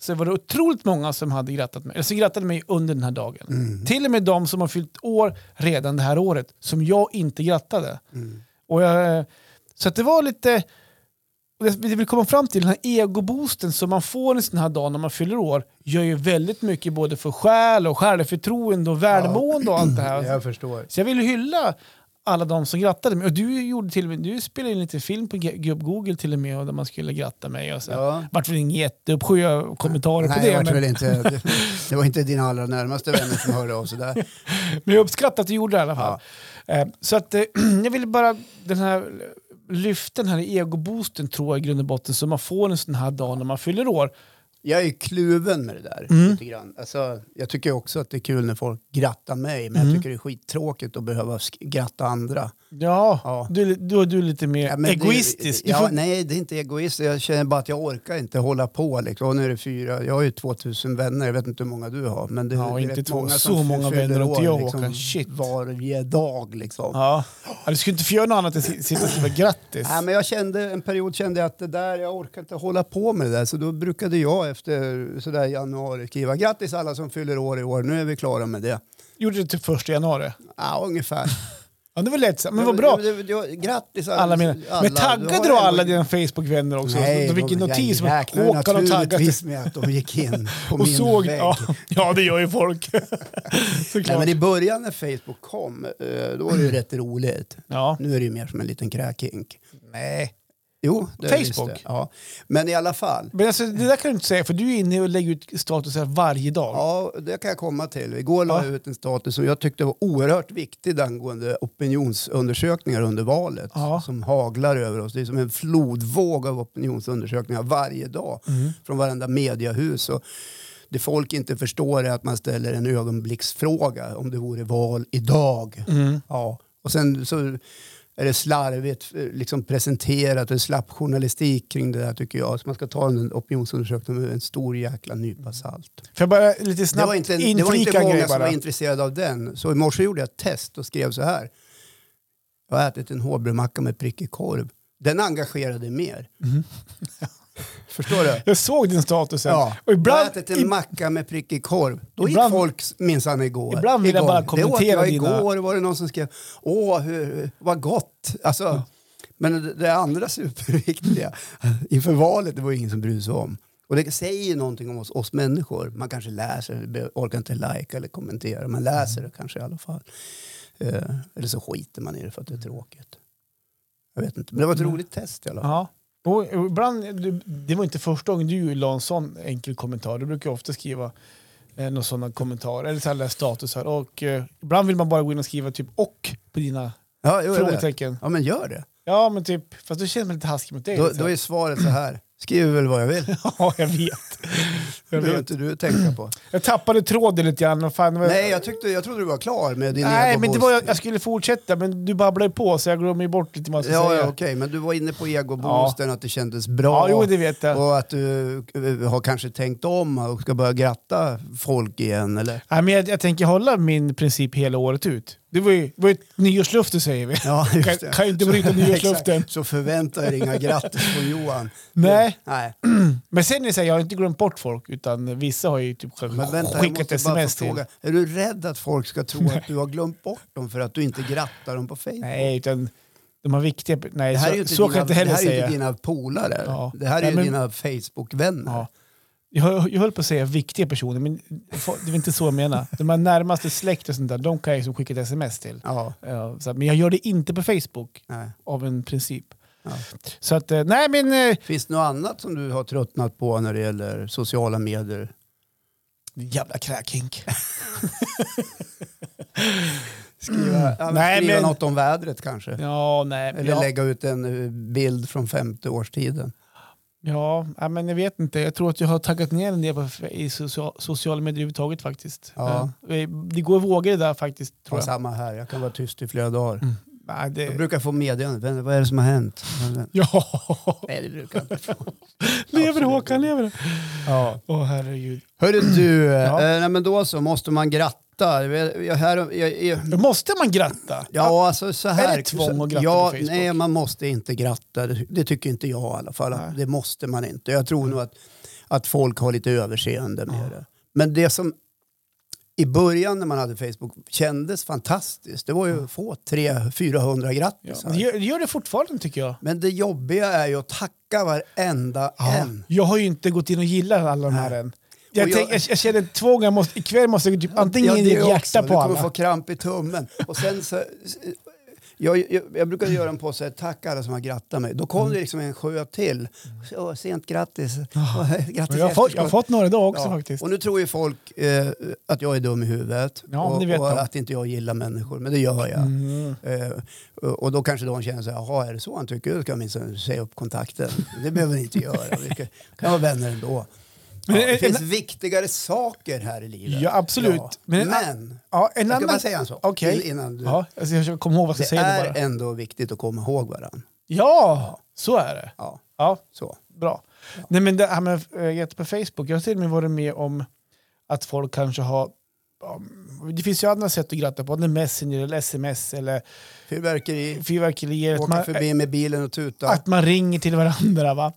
[SPEAKER 2] så var det otroligt många som hade grattat mig, eller som grattade mig under den här dagen.
[SPEAKER 1] Mm.
[SPEAKER 2] Till och med de som har fyllt år redan det här året, som jag inte grattade. Och jag, eh, så att det var lite... och Det det vi kommer fram till, den här egoboosten som man får en sån här dag när man fyller år, gör ju väldigt mycket både för själ och självförtroende och välmående och allt det här.
[SPEAKER 1] Jag förstår.
[SPEAKER 2] Så jag vill hylla alla de som grattade mig. Och du, gjorde till och med, du spelade in lite film på G- Gubb Google till och med och där man skulle gratta mig. Och så.
[SPEAKER 1] Ja.
[SPEAKER 2] vart väl ingen jätteuppsjö av kommentarer
[SPEAKER 1] Nej,
[SPEAKER 2] på det.
[SPEAKER 1] det, var
[SPEAKER 2] Men,
[SPEAKER 1] väl inte, det, det var inte dina allra närmaste vänner som hörde av sig där.
[SPEAKER 2] men jag uppskattar att du gjorde det i alla fall. Eh, Så att eh, jag ville bara den här, lyfta den här egoboosten tror jag i grund och botten så man får en sån här dag när man fyller år.
[SPEAKER 1] Jag är ju kluven med det där.
[SPEAKER 2] Mm.
[SPEAKER 1] Lite grann. Alltså, jag tycker också att det är kul när folk grattar mig, men
[SPEAKER 2] Mm.
[SPEAKER 1] jag tycker det är skittråkigt att behöva sk- gratta andra.
[SPEAKER 2] Ja,
[SPEAKER 1] Ja.
[SPEAKER 2] Du, då är du lite mer
[SPEAKER 1] Ja, men det-
[SPEAKER 2] egoistisk. Du
[SPEAKER 1] ja,
[SPEAKER 2] får-
[SPEAKER 1] Nej, det är inte egoistiskt. Jag känner bara att jag orkar inte hålla på. Liksom. Och nu är det fyra. Jag har ju 2000 vänner. Jag vet inte hur många du har. Men det,
[SPEAKER 2] Ja,
[SPEAKER 1] det är
[SPEAKER 2] inte
[SPEAKER 1] rätt
[SPEAKER 2] två-
[SPEAKER 1] många
[SPEAKER 2] så
[SPEAKER 1] som
[SPEAKER 2] många
[SPEAKER 1] fyller
[SPEAKER 2] vänner har inte jag,
[SPEAKER 1] år, liksom,
[SPEAKER 2] Håkan. Shit.
[SPEAKER 1] Varje dag liksom.
[SPEAKER 2] ja. Ja, du skulle inte få göra något annat än si- sitta och skriva grattis.
[SPEAKER 1] Nej, men jag kände, en period kände jag att det där, jag orkar inte hålla på med det där. Så då brukade jag efter sådär januari skriva grattis alla som fyller år i år. Nu är vi klara med det.
[SPEAKER 2] Gjorde det till första januari.
[SPEAKER 1] Ja, ungefär.
[SPEAKER 2] Ja, det var lättsamt, men vad bra.
[SPEAKER 1] Ja, men det- det- Grattis alla.
[SPEAKER 2] Alla mina. Men
[SPEAKER 1] har
[SPEAKER 2] taggade du alla
[SPEAKER 1] ändå-
[SPEAKER 2] dina Facebook-vänner också? Nej, de fick en notis om att
[SPEAKER 1] räknar
[SPEAKER 2] Håkan har taggat
[SPEAKER 1] naturligtvis med att de gick in på
[SPEAKER 2] och
[SPEAKER 1] min
[SPEAKER 2] såg.
[SPEAKER 1] vägg.
[SPEAKER 2] Ja, ja, det gör ju folk.
[SPEAKER 1] Nej,
[SPEAKER 2] Såklart.
[SPEAKER 1] men I början
[SPEAKER 2] Mm.
[SPEAKER 1] när Facebook kom, eh, då var det ju rätt roligt.
[SPEAKER 2] ja.
[SPEAKER 1] Nu är det ju mer som en liten kräkink.
[SPEAKER 2] Nej.
[SPEAKER 1] Jo, det är visst det.
[SPEAKER 2] Facebook.
[SPEAKER 1] Ja. Men i alla fall.
[SPEAKER 2] Men alltså, det där kan du inte säga för du är inne och lägger ut statusar varje dag.
[SPEAKER 1] Ja, det kan jag komma till. Igår la jag ut en status som jag tyckte var oerhört viktig angående opinionsundersökningar under valet
[SPEAKER 2] Ja.
[SPEAKER 1] som haglar över oss. Det är som en flodvåg av opinionsundersökningar varje dag
[SPEAKER 2] Mm.
[SPEAKER 1] från varenda mediehus. Och det folk inte förstår är att man ställer en ögonblicksfråga om det vore val idag.
[SPEAKER 2] Mm.
[SPEAKER 1] Ja. Och sen så är det slarvigt eh, liksom presenterat, en slapp journalistik kring det där tycker jag. Så man ska ta den opinionsundersökningen med en stor jäkla nypa salt.
[SPEAKER 2] För jag bara lite
[SPEAKER 1] Det
[SPEAKER 2] snabbt
[SPEAKER 1] var inte, det var
[SPEAKER 2] inflika
[SPEAKER 1] inte
[SPEAKER 2] en
[SPEAKER 1] många
[SPEAKER 2] grej
[SPEAKER 1] som var
[SPEAKER 2] bara.
[SPEAKER 1] intresserade av den. Så i morse gjorde jag ett test och skrev så här. Jag har ätit en hårdbrödmacka med prickig korv. Den engagerade mer.
[SPEAKER 2] Mhm.
[SPEAKER 1] Förstår du?
[SPEAKER 2] Jag såg din status här. Och
[SPEAKER 1] jag har
[SPEAKER 2] ibland,
[SPEAKER 1] ätit en macka med prickig korv. Då
[SPEAKER 2] Ibland-
[SPEAKER 1] gick folk minsann igår.
[SPEAKER 2] Ibland vill jag
[SPEAKER 1] igång.
[SPEAKER 2] bara
[SPEAKER 1] det
[SPEAKER 2] kommentera
[SPEAKER 1] åt jag
[SPEAKER 2] dina-
[SPEAKER 1] igår var det någon som skrev åh hur, vad gott. Alltså, men det, det andra superviktiga inför valet det var ju ingen som brydde sig om. Och det säger ju någonting om oss, oss människor. Man kanske läser, be- orkar inte like eller kommentera. Man läser det kanske i alla fall. Eh, eller så skiter man i det för att det är tråkigt. Jag vet inte, men det var ett roligt test i alla fall.
[SPEAKER 2] ja. och ibland, du- det var inte första gången du la en sån enkel kommentar. Du brukar ju ofta skriva eh, några sådana kommentarer eller så här statusar. Och, eh, ibland vill man bara gå in och skriva typ och på dina
[SPEAKER 1] Ja, jo, jag vet.
[SPEAKER 2] frågetecken.
[SPEAKER 1] ja men gör det.
[SPEAKER 2] Ja men typ, fast då känner man lite haskig mot dig.
[SPEAKER 1] Då,
[SPEAKER 2] Så
[SPEAKER 1] då
[SPEAKER 2] här.
[SPEAKER 1] är svaret så här. Skriv väl vad jag vill.
[SPEAKER 2] Ja jag vet.
[SPEAKER 1] Det
[SPEAKER 2] Jag,
[SPEAKER 1] behöver
[SPEAKER 2] vet.
[SPEAKER 1] inte du tänka på.
[SPEAKER 2] jag tappade tråden lite grann. och Fan, det var-
[SPEAKER 1] Nej, jag, tyckte, jag trodde du var klar med din
[SPEAKER 2] Nej, men det var, jag,
[SPEAKER 1] egoboost.
[SPEAKER 2] jag skulle fortsätta men du babblade på så jag glömmer ju bort lite vad jag ska
[SPEAKER 1] Ja,
[SPEAKER 2] säga.
[SPEAKER 1] ja okej, men du var inne på egoboosten, att det kändes bra.
[SPEAKER 2] ja, jo det vet jag.
[SPEAKER 1] Och att du eh, har kanske tänkt om och ska börja gratta folk igen, eller?
[SPEAKER 2] Nej, men jag, jag tänker hålla min princip hela året ut. Det var ju, det var ju ett nyårslöfte säger vi.
[SPEAKER 1] Ja, just
[SPEAKER 2] Kan, kan ju inte bryta nyårslöften.
[SPEAKER 1] Exakt. Så förvänta er inga grattis från Johan.
[SPEAKER 2] Nej.
[SPEAKER 1] Nej.
[SPEAKER 2] Men sen är det så här, jag har inte glömt bort folk utan vissa har ju typ
[SPEAKER 1] Men vänta, jag
[SPEAKER 2] skickat
[SPEAKER 1] måste bara
[SPEAKER 2] sms
[SPEAKER 1] få
[SPEAKER 2] till.
[SPEAKER 1] fråga. Är du rädd att folk ska tro att du har glömt bort dem för att du inte grattar dem på Facebook?
[SPEAKER 2] Nej, utan de har viktiga... Nej,
[SPEAKER 1] Det här
[SPEAKER 2] så,
[SPEAKER 1] är ju inte,
[SPEAKER 2] så kan
[SPEAKER 1] dina,
[SPEAKER 2] jag inte heller
[SPEAKER 1] det här är ju
[SPEAKER 2] säga.
[SPEAKER 1] inte dina polare.
[SPEAKER 2] Ja.
[SPEAKER 1] Det här är
[SPEAKER 2] Nej,
[SPEAKER 1] ju
[SPEAKER 2] men-
[SPEAKER 1] dina Facebook-vänner.
[SPEAKER 2] Ja. Jag, hö- jag höll på att säga viktiga personer, men det var inte så jag menar. De här närmaste släkt och sånt där, de kan jag liksom skicka ett sms till.
[SPEAKER 1] Ja,
[SPEAKER 2] Ja, Eh, så här, Men jag gör det inte på Facebook
[SPEAKER 1] nej.
[SPEAKER 2] av en princip.
[SPEAKER 1] Ja.
[SPEAKER 2] Så att, eh, nej men... eh,
[SPEAKER 1] Finns det något annat som du har tröttnat på när det gäller sociala medier?
[SPEAKER 2] Jävla kräkhink.
[SPEAKER 1] Skriva, ja, men
[SPEAKER 2] Mm. Nej,
[SPEAKER 1] skriva
[SPEAKER 2] men-
[SPEAKER 1] något om vädret kanske?
[SPEAKER 2] Ja, nej. men
[SPEAKER 1] Eller
[SPEAKER 2] ja.
[SPEAKER 1] lägga ut en eh, bild från femte årstiden?
[SPEAKER 2] Ja, ja, men jag vet inte. Jag tror att jag har taggat ner en del på, i social, sociala medier överhuvudtaget faktiskt.
[SPEAKER 1] Ja.
[SPEAKER 2] Eh, Det går i vågor det där faktiskt.
[SPEAKER 1] Ja,
[SPEAKER 2] Tror jag. Mm.
[SPEAKER 1] samma här, jag kan vara tyst i flera dagar.
[SPEAKER 2] Nej,
[SPEAKER 1] Jag
[SPEAKER 2] det,
[SPEAKER 1] brukar få meddelanden, vad är det som har hänt?
[SPEAKER 2] ja,
[SPEAKER 1] Nej, det brukar jag inte få.
[SPEAKER 2] lever
[SPEAKER 1] Absolut.
[SPEAKER 2] Håkan, lever
[SPEAKER 1] Ja.
[SPEAKER 2] Åh herregud.
[SPEAKER 1] Hörru du, eh,
[SPEAKER 2] Ja.
[SPEAKER 1] eh, nej, men då så måste man gratta. Jag, jag, här, jag, jag,
[SPEAKER 2] Måste man gratta?
[SPEAKER 1] Ja, alltså så här.
[SPEAKER 2] det tvång att gratta
[SPEAKER 1] ja,
[SPEAKER 2] på Facebook?
[SPEAKER 1] Nej, man måste inte gratta. Det, det tycker inte jag i alla fall. att
[SPEAKER 2] Nej.
[SPEAKER 1] Det måste man inte. Jag tror nog att, att folk har lite överseende med det. Men det som i början när man hade Facebook kändes fantastiskt. Det var ju att få 300-400
[SPEAKER 2] Ja,
[SPEAKER 1] grattisar.
[SPEAKER 2] men det, gör, det gör det fortfarande tycker jag.
[SPEAKER 1] Men det jobbiga är ju att tacka varenda en.
[SPEAKER 2] Jag har ju inte gått in och gillat alla de här än. Jag,
[SPEAKER 1] Och jag-
[SPEAKER 2] tänk, jag, jag känner ett tvång, jag måste, ikväll måste jag typ, antingen ge ett hjärta
[SPEAKER 1] Du
[SPEAKER 2] på
[SPEAKER 1] kommer
[SPEAKER 2] alla.
[SPEAKER 1] få kramp i tummen. Och sen så, jag, jag, jag brukar göra en påse, tack alla som har grattat mig. Då kom
[SPEAKER 2] Mm.
[SPEAKER 1] det liksom en sjö till. Så, sent grattis. Och, grattis
[SPEAKER 2] Ah. Men jag, har fått, jag har
[SPEAKER 1] efterskott.
[SPEAKER 2] fått några idag också
[SPEAKER 1] Ja.
[SPEAKER 2] faktiskt.
[SPEAKER 1] Och nu tror ju folk eh, att jag är dum i huvudet
[SPEAKER 2] Ja,
[SPEAKER 1] och,
[SPEAKER 2] det vet Mm.
[SPEAKER 1] och
[SPEAKER 2] de.
[SPEAKER 1] att inte jag gillar människor, men det gör jag. Eh, och och då kanske de känner så här, jaha är det så han tycker? Då ska jag minsann säga upp kontakten. Det behöver ni inte göra, vi kan, kan vara vänner ändå. Ja,
[SPEAKER 2] Men
[SPEAKER 1] det
[SPEAKER 2] en-
[SPEAKER 1] finns viktigare saker här i livet.
[SPEAKER 2] Ja, absolut. Men-
[SPEAKER 1] Men,
[SPEAKER 2] Ja, en
[SPEAKER 1] jag ska bara
[SPEAKER 2] annan...
[SPEAKER 1] säga en sak
[SPEAKER 2] Okej.
[SPEAKER 1] till innan du...
[SPEAKER 2] Ja, alltså jag försöker komma ihåg vad jag
[SPEAKER 1] Det
[SPEAKER 2] ska säga nu
[SPEAKER 1] är
[SPEAKER 2] bara.
[SPEAKER 1] ändå viktigt att komma ihåg varandra.
[SPEAKER 2] Ja, så är det.
[SPEAKER 1] Ja,
[SPEAKER 2] Ja,
[SPEAKER 1] så.
[SPEAKER 2] bra. Nej men det här med äh, på Facebook, jag har till och med varit med om att folk kanske har ja, det finns ju andra sätt att gratta på, antingen Messenger eller sms eller
[SPEAKER 1] Fyrverkeri,
[SPEAKER 2] fyrverkerier. att
[SPEAKER 1] åka
[SPEAKER 2] man- eh,
[SPEAKER 1] förbi med bilen och tuta.
[SPEAKER 2] att man ringer till varandra. Va?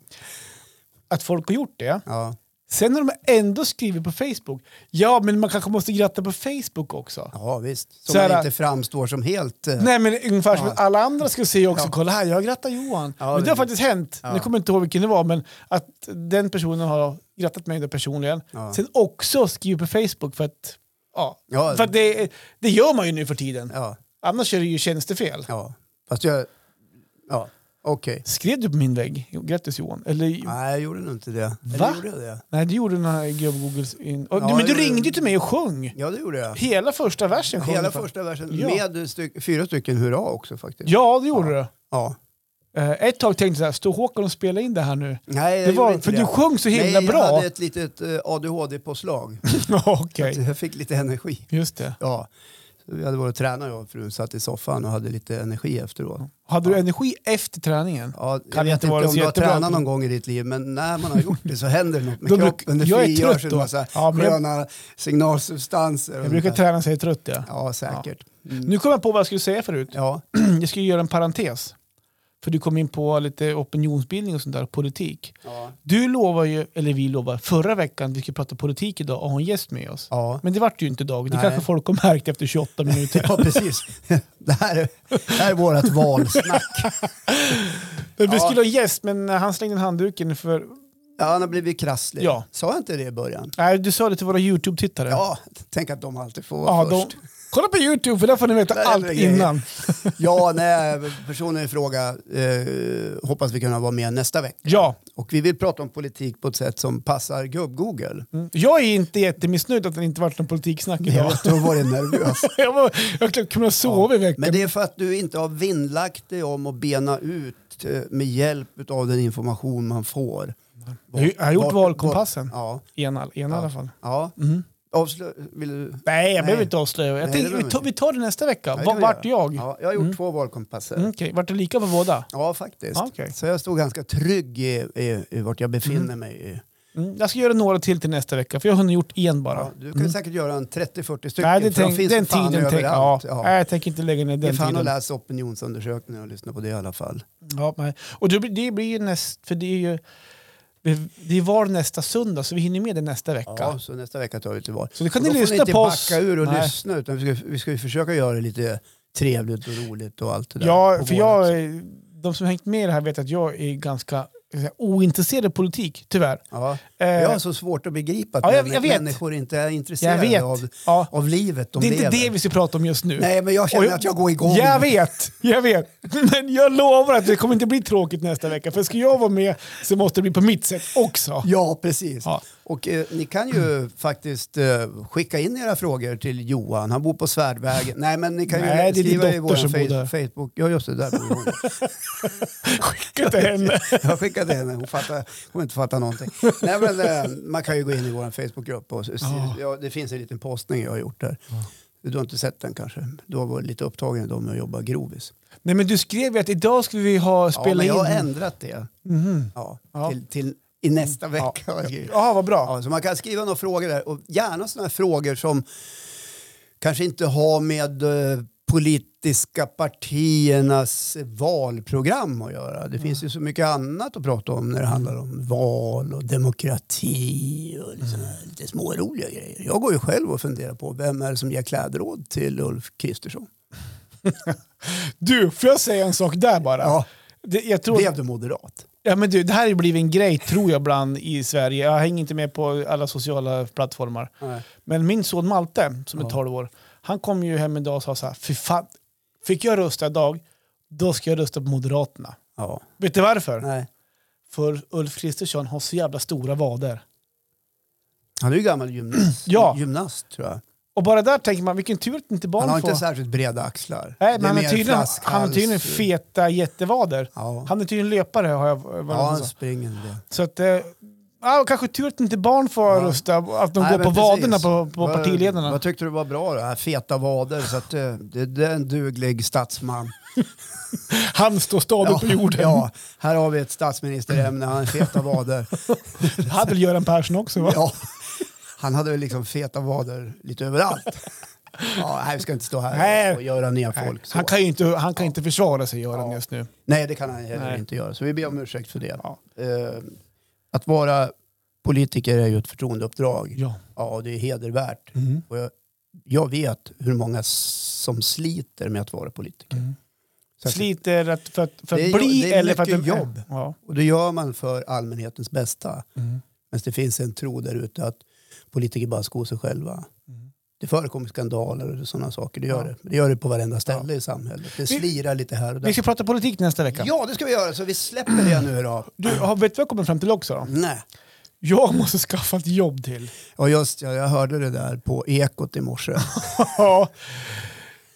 [SPEAKER 2] Att folk har gjort det.
[SPEAKER 1] ja.
[SPEAKER 2] Sen har de ändå skrivit på Facebook. Ja, men man kanske måste gratta på Facebook också.
[SPEAKER 1] ja, visst. Så,
[SPEAKER 2] Så här-
[SPEAKER 1] man inte framstår som helt... eh,
[SPEAKER 2] Nej, men ungefär som
[SPEAKER 1] Ja.
[SPEAKER 2] att alla andra skulle se också.
[SPEAKER 1] Ja.
[SPEAKER 2] Kolla här, jag grattar Johan.
[SPEAKER 1] Ja,
[SPEAKER 2] men det
[SPEAKER 1] det-
[SPEAKER 2] har faktiskt hänt.
[SPEAKER 1] Ja.
[SPEAKER 2] Nu kommer jag inte ihåg vilken det var, men att den personen har grattat mig då personligen.
[SPEAKER 1] Ja.
[SPEAKER 2] Sen också skrivit på Facebook för att, ja,
[SPEAKER 1] Ja.
[SPEAKER 2] för att det, det gör man ju nu för tiden.
[SPEAKER 1] Ja,
[SPEAKER 2] Annars är det ju tjänstefel.
[SPEAKER 1] ja. Fast jag... Ja. Okej, Okej.
[SPEAKER 2] Skrev du på min vägg? Jo, Grattis Johan. Eller,
[SPEAKER 1] Nej, jag gjorde nog inte det.
[SPEAKER 2] Va?
[SPEAKER 1] Eller gjorde jag det?
[SPEAKER 2] nej, det gjorde den här gubb-Googles... In... Och-
[SPEAKER 1] Ja,
[SPEAKER 2] men du
[SPEAKER 1] det-
[SPEAKER 2] ringde ju till mig och sjöng.
[SPEAKER 1] Ja, det gjorde jag.
[SPEAKER 2] Hela första versen sjöng
[SPEAKER 1] Hela
[SPEAKER 2] du fan.
[SPEAKER 1] första versen
[SPEAKER 2] Ja.
[SPEAKER 1] med styck, fyra stycken hurra också faktiskt.
[SPEAKER 2] Ja, det gjorde du.
[SPEAKER 1] Ja.
[SPEAKER 2] Eh, ett tag tänkte jag så här, står Håkan och spelar in det här nu?
[SPEAKER 1] Nej, jag
[SPEAKER 2] Det
[SPEAKER 1] gjorde
[SPEAKER 2] var,
[SPEAKER 1] inte
[SPEAKER 2] för
[SPEAKER 1] det.
[SPEAKER 2] du sjöng så himla
[SPEAKER 1] Nej,
[SPEAKER 2] bra.
[SPEAKER 1] jag hade ett litet eh, ADHD-påslag.
[SPEAKER 2] Ja, Okej,
[SPEAKER 1] Så Jag fick lite energi.
[SPEAKER 2] just det.
[SPEAKER 1] Ja. Så Vi hade varit och tränat jag och frun, satt i soffan och hade lite energi efteråt.
[SPEAKER 2] Hade du energi efter träningen?
[SPEAKER 1] Ja, jag
[SPEAKER 2] Kan
[SPEAKER 1] vet
[SPEAKER 2] inte
[SPEAKER 1] inte
[SPEAKER 2] vara
[SPEAKER 1] om
[SPEAKER 2] så
[SPEAKER 1] du har
[SPEAKER 2] jättebra.
[SPEAKER 1] tränat någon gång i ditt liv, men när man har gjort det så händer något med
[SPEAKER 2] Då bruk-
[SPEAKER 1] kroppen. Det
[SPEAKER 2] jag är
[SPEAKER 1] frigörs
[SPEAKER 2] trött
[SPEAKER 1] en
[SPEAKER 2] då.
[SPEAKER 1] massa
[SPEAKER 2] Ja, men jag-
[SPEAKER 1] sköna signalsubstanser. och
[SPEAKER 2] Jag brukar
[SPEAKER 1] sånt där.
[SPEAKER 2] träna så jag är trött. Ja.
[SPEAKER 1] Ja, säkert. Ja. Mm.
[SPEAKER 2] Nu kom jag på vad jag skulle säga förut.
[SPEAKER 1] Ja.
[SPEAKER 2] Jag skulle göra en parentes. För du kom in på lite opinionsbildning och sånt där, politik.
[SPEAKER 1] Ja.
[SPEAKER 2] Du lovar ju, eller vi lovar, förra veckan att vi skulle prata politik idag och ha en gäst med oss.
[SPEAKER 1] Ja.
[SPEAKER 2] Men det vart ju inte idag. Det
[SPEAKER 1] Nej.
[SPEAKER 2] kanske folk har märkt efter 28 minuter.
[SPEAKER 1] ja, precis. Det här är, det här är vårt valsnack.
[SPEAKER 2] Men Vi
[SPEAKER 1] Ja.
[SPEAKER 2] skulle ha en gäst, men eh, han slängde in handduken för...
[SPEAKER 1] Ja, han har blivit krasslig.
[SPEAKER 2] Ja.
[SPEAKER 1] Sa jag inte det i början?
[SPEAKER 2] Nej, du sa det till våra YouTube-tittare.
[SPEAKER 1] Ja, tänk att de alltid får
[SPEAKER 2] Ja,
[SPEAKER 1] vara
[SPEAKER 2] de...
[SPEAKER 1] först.
[SPEAKER 2] Kolla på YouTube, för där får ni veta
[SPEAKER 1] Där är
[SPEAKER 2] allt
[SPEAKER 1] det grejer.
[SPEAKER 2] innan.
[SPEAKER 1] Ja, nej, personen i fråga eh, hoppas vi kan vara med nästa vecka.
[SPEAKER 2] Ja.
[SPEAKER 1] Och vi vill prata om politik på ett sätt som passar gubb-Google.
[SPEAKER 2] Mm. Jag är inte jättemissnöjd att det inte varit någon politiksnack
[SPEAKER 1] Jag
[SPEAKER 2] idag.
[SPEAKER 1] vet, du har varit nervös.
[SPEAKER 2] jag var, jag har knappt kunnat sova i veckan.
[SPEAKER 1] Men det är för att du inte har vinnlagt dig om att bena ut eh, med hjälp av den information man får.
[SPEAKER 2] Jag har ju- jag har gjort
[SPEAKER 1] Vart-
[SPEAKER 2] valkompassen.
[SPEAKER 1] vart- Ja.
[SPEAKER 2] Enal, enal i alla fall.
[SPEAKER 1] ja.
[SPEAKER 2] Mm.
[SPEAKER 1] Avslö... Vill du?
[SPEAKER 2] Nej, jag behöver
[SPEAKER 1] Nej.
[SPEAKER 2] inte avslöja. Jag
[SPEAKER 1] Nej,
[SPEAKER 2] tänkte,
[SPEAKER 1] det behöver
[SPEAKER 2] vi, tar,
[SPEAKER 1] vi
[SPEAKER 2] vi tar det nästa vecka.
[SPEAKER 1] Ja, det
[SPEAKER 2] Va-
[SPEAKER 1] kan vi
[SPEAKER 2] Vart är
[SPEAKER 1] göra.
[SPEAKER 2] jag?
[SPEAKER 1] Ja, jag har gjort
[SPEAKER 2] Mm.
[SPEAKER 1] två valkompasser.
[SPEAKER 2] Mm, Okej, vart det lika för båda?
[SPEAKER 1] Ja, faktiskt.
[SPEAKER 2] Ah, okej.
[SPEAKER 1] Så jag stod ganska trygg i, i, i vart jag befinner mig. I.
[SPEAKER 2] Mm. Jag ska göra några till till nästa vecka, för jag har hunnit gjort en bara.
[SPEAKER 1] Ja, du kan ju säkert göra en 30-40 stycken.
[SPEAKER 2] Mm. Nej, det
[SPEAKER 1] för de
[SPEAKER 2] tänk,
[SPEAKER 1] finns
[SPEAKER 2] den
[SPEAKER 1] ju fan
[SPEAKER 2] tiden tänk, ja.
[SPEAKER 1] överallt.
[SPEAKER 2] Nej, jag tänker inte lägga ner
[SPEAKER 1] Det är
[SPEAKER 2] den
[SPEAKER 1] fan att
[SPEAKER 2] tiden.
[SPEAKER 1] läsa opinionsundersökningar och lyssna på det i alla fall.
[SPEAKER 2] Ja, nej. och det, blir- det blir ju näst, för det är ju det är var nästa söndag, så vi hinner med det nästa vecka.
[SPEAKER 1] Ja, så nästa vecka tar vi tillbaka.
[SPEAKER 2] Så det kan
[SPEAKER 1] Och
[SPEAKER 2] ni
[SPEAKER 1] då får
[SPEAKER 2] lyssna
[SPEAKER 1] inte
[SPEAKER 2] på oss.
[SPEAKER 1] backa ur och
[SPEAKER 2] Nej.
[SPEAKER 1] lyssna utan vi ska, vi ska ju försöka göra det lite trevligt och roligt och allt det där.
[SPEAKER 2] Ja,
[SPEAKER 1] på
[SPEAKER 2] för
[SPEAKER 1] våren.
[SPEAKER 2] jag, är- de som har hängt med i det här vet att jag är ganska ska jag säga, ointresserad av politik, tyvärr.
[SPEAKER 1] Ja.
[SPEAKER 2] Eh,
[SPEAKER 1] Jag har så svårt att begripa att
[SPEAKER 2] Ja, jag-
[SPEAKER 1] män-
[SPEAKER 2] jag vet.
[SPEAKER 1] människor inte är
[SPEAKER 2] jag
[SPEAKER 1] intresserade
[SPEAKER 2] vet.
[SPEAKER 1] Av,
[SPEAKER 2] ja.
[SPEAKER 1] av livet de
[SPEAKER 2] det är
[SPEAKER 1] lever.
[SPEAKER 2] inte det vi ska prata om just nu.
[SPEAKER 1] Nej, men jag känner
[SPEAKER 2] Och jag-
[SPEAKER 1] att jag går igång.
[SPEAKER 2] Jag vet, jag vet. Men jag lovar att det kommer inte bli tråkigt nästa vecka. För ska jag vara med så måste det bli på mitt sätt också.
[SPEAKER 1] Ja, precis.
[SPEAKER 2] Ja.
[SPEAKER 1] Och eh, ni kan ju faktiskt eh, skicka in era frågor till Johan. Han bor på Svärdvägen. Nej, men ni kan ju
[SPEAKER 2] Nej, det är din
[SPEAKER 1] skriva i
[SPEAKER 2] dotter
[SPEAKER 1] vår
[SPEAKER 2] som bor där.
[SPEAKER 1] Facebook. Ja, just det. Där bor hon.
[SPEAKER 2] Skicka till henne.
[SPEAKER 1] Jag skickade henne, hon fattar, hon inte fattar någonting. Nej, men, eh, man kan ju gå in i vår Facebookgrupp och se,
[SPEAKER 2] Ja.
[SPEAKER 1] ja, det finns en liten postning jag har gjort där. Du har inte sett den kanske? Du har varit lite upptagen idag med att jobba grovis.
[SPEAKER 2] Nej men du skrev ju att idag skulle vi ha
[SPEAKER 1] Ja,
[SPEAKER 2] spela
[SPEAKER 1] men jag har
[SPEAKER 2] in.
[SPEAKER 1] ändrat det
[SPEAKER 2] Mhm.
[SPEAKER 1] ja,
[SPEAKER 2] Ja.
[SPEAKER 1] Till, till i nästa vecka. har jag skrivit.
[SPEAKER 2] Ja, vad bra.
[SPEAKER 1] Ja, så man kan skriva några frågor där och gärna sådana här frågor som kanske inte har med eh, politiska partiernas valprogram att göra. Det finns ju så mycket annat att prata om när det handlar om val och demokrati och liksom här lite småroliga grejer. Jag går ju själv och funderar på vem är det som ger klädråd till Ulf Kristersson?
[SPEAKER 2] Du, får jag säga en sak där bara?
[SPEAKER 1] Ja,
[SPEAKER 2] Det, jag tror,
[SPEAKER 1] blev du moderat?
[SPEAKER 2] Ja, men du, det här har ju blivit en grej tror jag bland i Sverige. Jag hänger inte med på alla sociala plattformar.
[SPEAKER 1] Nej.
[SPEAKER 2] Men min son Malte, som är
[SPEAKER 1] Ja.
[SPEAKER 2] 12 år, han kom ju hem en dag och sa så här, Fy fan, fick jag rösta idag, då ska jag rösta på Moderaterna.
[SPEAKER 1] Ja.
[SPEAKER 2] Vet du varför?
[SPEAKER 1] Nej.
[SPEAKER 2] För Ulf Kristersson har så jävla stora vader.
[SPEAKER 1] Han är ju gammal gymnast,
[SPEAKER 2] Ja.
[SPEAKER 1] gymnast tror jag.
[SPEAKER 2] Och bara där tänker man, vilken tur att inte barn
[SPEAKER 1] Han har
[SPEAKER 2] får...
[SPEAKER 1] inte särskilt breda axlar.
[SPEAKER 2] Nej, men
[SPEAKER 1] Det är
[SPEAKER 2] han har
[SPEAKER 1] mer
[SPEAKER 2] tydligen, han har
[SPEAKER 1] flaskhals.
[SPEAKER 2] tydligen feta jättevader.
[SPEAKER 1] Ja.
[SPEAKER 2] Han är tydligen löpare har jag vad
[SPEAKER 1] Ja,
[SPEAKER 2] han
[SPEAKER 1] han
[SPEAKER 2] sa.
[SPEAKER 1] springer det.
[SPEAKER 2] Så att... Eh, Ja, och kanske tur att inte barn får
[SPEAKER 1] Ja.
[SPEAKER 2] rösta, att de
[SPEAKER 1] Nej,
[SPEAKER 2] går
[SPEAKER 1] men
[SPEAKER 2] på
[SPEAKER 1] precis.
[SPEAKER 2] vaderna på, på
[SPEAKER 1] Vad-
[SPEAKER 2] partiledarna.
[SPEAKER 1] Vad tyckte du var bra då? Här Feta vader, så att eh, det, det är en duglig statsman.
[SPEAKER 2] Han står stadigt på jorden.
[SPEAKER 1] ja, här har vi ett statsministerämne, han har feta vader.
[SPEAKER 2] Det hade väl Göran Persson också? Va?
[SPEAKER 1] Ja, han hade väl liksom feta vader lite överallt. Ja, här vi ska inte stå här
[SPEAKER 2] Nej.
[SPEAKER 1] och göra ner
[SPEAKER 2] Nej,
[SPEAKER 1] folk. Så.
[SPEAKER 2] han kan ju inte, han kan inte försvara sig, Göran,
[SPEAKER 1] Ja.
[SPEAKER 2] just nu.
[SPEAKER 1] Nej, det kan han heller
[SPEAKER 2] Nej.
[SPEAKER 1] inte göra, så vi ber om ursäkt för det.
[SPEAKER 2] Ja.
[SPEAKER 1] Eh, att vara politiker är ju ett förtroendeuppdrag.
[SPEAKER 2] Ja.
[SPEAKER 1] Ja, Mm. och det är hedervärt. Och jag, jag vet hur många s- som sliter med att vara politiker. Så att-
[SPEAKER 2] Sliter att, för att, för att
[SPEAKER 1] Det är jo-
[SPEAKER 2] bli
[SPEAKER 1] det är
[SPEAKER 2] eller för att...
[SPEAKER 1] mycket jobb. Mm.
[SPEAKER 2] Ja.
[SPEAKER 1] Och det gör man för allmänhetens bästa. Men det finns en tro där ute att politiker bara skor sig själva. Det förekommer skandaler och sådana saker. Det gör
[SPEAKER 2] Ja.
[SPEAKER 1] det. Det gör det på varenda ställe i samhället. Det slirar lite här och
[SPEAKER 2] Vi
[SPEAKER 1] där.
[SPEAKER 2] ska prata politik nästa vecka.
[SPEAKER 1] Ja, det ska vi göra. Så vi släpper det nu då.
[SPEAKER 2] Du, har vet du vad jag kommit fram till också? Då?
[SPEAKER 1] Nej.
[SPEAKER 2] Jag måste skaffa ett jobb till.
[SPEAKER 1] Ja, just ja, jag hörde det där på Ekot i morse.
[SPEAKER 2] Ja.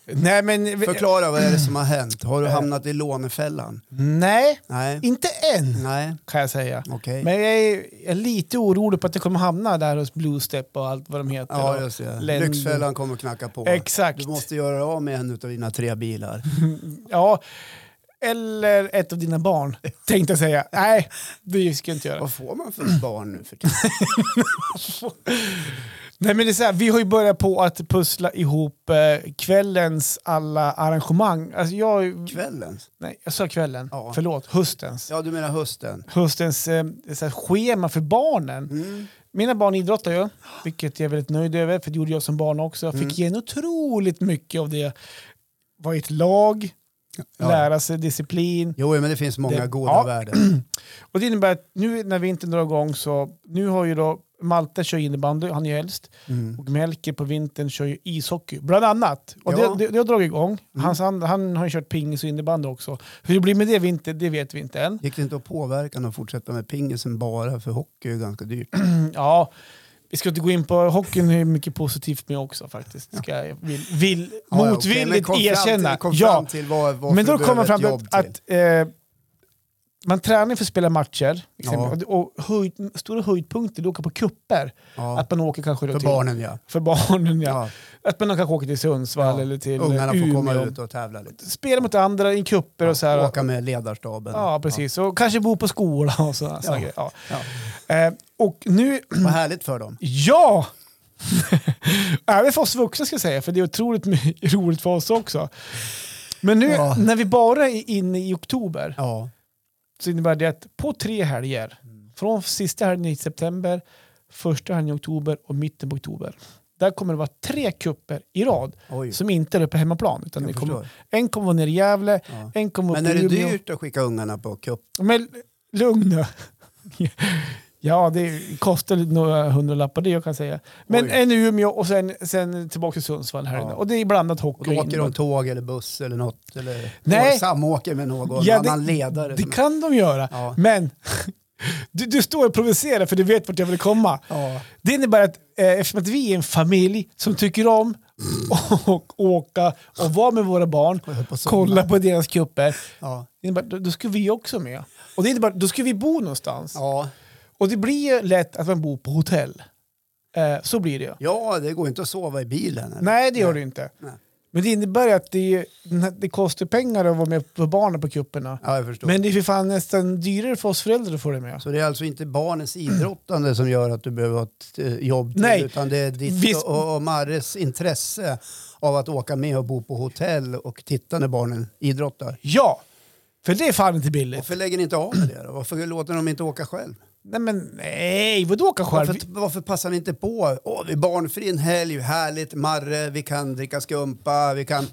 [SPEAKER 2] Nej, men...
[SPEAKER 1] Förklara, vad är det som har hänt? Har du
[SPEAKER 2] Eh.
[SPEAKER 1] hamnat i lånefällan?
[SPEAKER 2] Nej,
[SPEAKER 1] Nej.
[SPEAKER 2] inte än
[SPEAKER 1] Nej,
[SPEAKER 2] kan jag säga.
[SPEAKER 1] okej.
[SPEAKER 2] Men jag är, jag är lite orolig på att det kommer hamna där hos Bluestep och allt vad de heter.
[SPEAKER 1] Ja,
[SPEAKER 2] Och
[SPEAKER 1] just det.
[SPEAKER 2] Lend-
[SPEAKER 1] Lyxfällan kommer knacka på.
[SPEAKER 2] Exakt.
[SPEAKER 1] Du måste göra av med en av dina tre bilar.
[SPEAKER 2] Ja, eller ett av dina barn, tänkte jag säga. Nej, det ska jag inte göra.
[SPEAKER 1] Vad får man för barn nu för tiden?
[SPEAKER 2] Nej, men det är så här, vi har ju börjat på att pussla ihop eh, kvällens alla arrangemang. Alltså jag,
[SPEAKER 1] Kvällens?
[SPEAKER 2] nej, jag sa kvällen,
[SPEAKER 1] Ja.
[SPEAKER 2] förlåt, höstens.
[SPEAKER 1] Ja, du menar hösten?
[SPEAKER 2] Höstens eh, så här, schema för barnen.
[SPEAKER 1] Mm.
[SPEAKER 2] Mina barn idrottar ju, vilket jag är väldigt nöjd över, för det gjorde jag som barn också. Jag fick
[SPEAKER 1] Mm.
[SPEAKER 2] igen otroligt mycket av det. Vara i ett lag,
[SPEAKER 1] Ja.
[SPEAKER 2] lära sig disciplin.
[SPEAKER 1] Jo, men det finns många
[SPEAKER 2] Det-
[SPEAKER 1] goda
[SPEAKER 2] ja.
[SPEAKER 1] värden.
[SPEAKER 2] Och det innebär att nu när vintern drar igång så, nu har ju då Malte kör innebandy, han är ju äldst.
[SPEAKER 1] Mm.
[SPEAKER 2] Och Melker på vintern kör ju ishockey, bland annat. Och
[SPEAKER 1] Ja. Mm.
[SPEAKER 2] det, det, det har dragit igång. Hans, han, han har ju kört pingis och innebandy också. Hur det blir med det vinter, det vet vi inte än.
[SPEAKER 1] Gick det inte att påverka dem att fortsätta med pingisen bara för hockey är ganska dyrt?
[SPEAKER 2] Ja, vi ska inte gå in på hockeyn, hur mycket positivt med också faktiskt. Ska jag vill, vill,
[SPEAKER 1] Ja, ja, okej,
[SPEAKER 2] motvilligt
[SPEAKER 1] men kom fram
[SPEAKER 2] erkänna.
[SPEAKER 1] Till, kom
[SPEAKER 2] ja.
[SPEAKER 1] fram till vad, vad
[SPEAKER 2] Men då
[SPEAKER 1] du
[SPEAKER 2] kommer man
[SPEAKER 1] behöver
[SPEAKER 2] fram
[SPEAKER 1] ett
[SPEAKER 2] till
[SPEAKER 1] jobb
[SPEAKER 2] att,
[SPEAKER 1] till.
[SPEAKER 2] att eh, man tränar för att spela matcher. exempel.
[SPEAKER 1] Ja.
[SPEAKER 2] Och, och höjd, stora höjdpunkter, du åker på kupper.
[SPEAKER 1] Ja,
[SPEAKER 2] Att man åker kanske då
[SPEAKER 1] för
[SPEAKER 2] till,
[SPEAKER 1] barnen ja.
[SPEAKER 2] för barnen. Ja.
[SPEAKER 1] ja.
[SPEAKER 2] Att man kanske åker till Sundsvall
[SPEAKER 1] Ja.
[SPEAKER 2] eller till eh,
[SPEAKER 1] Ungarna får
[SPEAKER 2] Umeå.
[SPEAKER 1] komma ut och tävla lite.
[SPEAKER 2] Spela mot andra i kupper och så här.
[SPEAKER 1] Åka med ledarstaben.
[SPEAKER 2] Ja, precis. Och kanske bo på skola och sådana
[SPEAKER 1] Ja.
[SPEAKER 2] grejer. Ja.
[SPEAKER 1] Ja.
[SPEAKER 2] Eh, och nu,
[SPEAKER 1] Vad härligt för dem.
[SPEAKER 2] ja! Även för oss vuxna ska jag säga, för det är otroligt my- roligt för oss också. Men nu
[SPEAKER 1] Ja.
[SPEAKER 2] när vi bara är inne i oktober,
[SPEAKER 1] Ja.
[SPEAKER 2] så innebär det att på tre helger, från sista helgen i september, första helgen i oktober och mitten på oktober, där kommer det vara tre kupper i rad
[SPEAKER 1] Oj.
[SPEAKER 2] som inte är uppe på hemmaplan. Utan
[SPEAKER 1] Jag
[SPEAKER 2] det kommer,
[SPEAKER 1] förstår.
[SPEAKER 2] en kommer vara nere i Gävle,
[SPEAKER 1] Ja.
[SPEAKER 2] en kommer vara
[SPEAKER 1] Men
[SPEAKER 2] uppe
[SPEAKER 1] är
[SPEAKER 2] i
[SPEAKER 1] det
[SPEAKER 2] Umeå.
[SPEAKER 1] dyrt att skicka ungarna på cup?
[SPEAKER 2] Men lugn nu. Ja, det kostar några hundralappar det jag kan säga. Men
[SPEAKER 1] Oj.
[SPEAKER 2] en i Umeå och sen, sen tillbaka till Sundsvall här
[SPEAKER 1] Ja.
[SPEAKER 2] inne. Och det är blandat
[SPEAKER 1] Och
[SPEAKER 2] hockey
[SPEAKER 1] då
[SPEAKER 2] och
[SPEAKER 1] åker
[SPEAKER 2] innebandy.
[SPEAKER 1] de tåg eller buss eller något? Eller
[SPEAKER 2] Nej.
[SPEAKER 1] Nej. samåker med någon
[SPEAKER 2] Ja, det-
[SPEAKER 1] annan ledare?
[SPEAKER 2] Det
[SPEAKER 1] som-
[SPEAKER 2] kan de göra,
[SPEAKER 1] Ja.
[SPEAKER 2] men du, du står och provocerar för du vet vart jag vill komma.
[SPEAKER 1] Ja.
[SPEAKER 2] Det innebär att eh, eftersom att vi är en familj som tycker om och åka och vara med våra barn,
[SPEAKER 1] Jag höll på att somna.
[SPEAKER 2] kolla på deras kupper,
[SPEAKER 1] Ja.
[SPEAKER 2] det innebär, då, då ska vi också med. Och det innebär, då ska vi bo någonstans.
[SPEAKER 1] Ja.
[SPEAKER 2] Och det blir ju lätt att man bor på hotell. Eh, så blir det ju.
[SPEAKER 1] ja, det går inte att sova i bilen. Eller?
[SPEAKER 2] Nej, det gör det inte.
[SPEAKER 1] Nej.
[SPEAKER 2] Men det innebär ju att det, är ju- den här- det kostar pengar att vara med på barnen på kupperna.
[SPEAKER 1] Ja, jag förstår.
[SPEAKER 2] Men det är för fan nästan dyrare för oss föräldrar att få det med.
[SPEAKER 1] Så det är alltså inte barnens idrottande som gör att du behöver ha ett eh, jobb till,
[SPEAKER 2] Nej.
[SPEAKER 1] utan det är ditt
[SPEAKER 2] Visst.
[SPEAKER 1] och, och Marres intresse av att åka med och bo på hotell och titta när barnen idrottar.
[SPEAKER 2] Ja, för det är fan inte billigt.
[SPEAKER 1] Varför lägger ni inte av med det då? Varför låter de inte åka själv?
[SPEAKER 2] Nej, men nej, vadå åka själv?
[SPEAKER 1] Varför, varför passar ni inte på? Åh, vi är barnfri en helg, härligt, Marre, vi kan dricka skumpa, vi kan...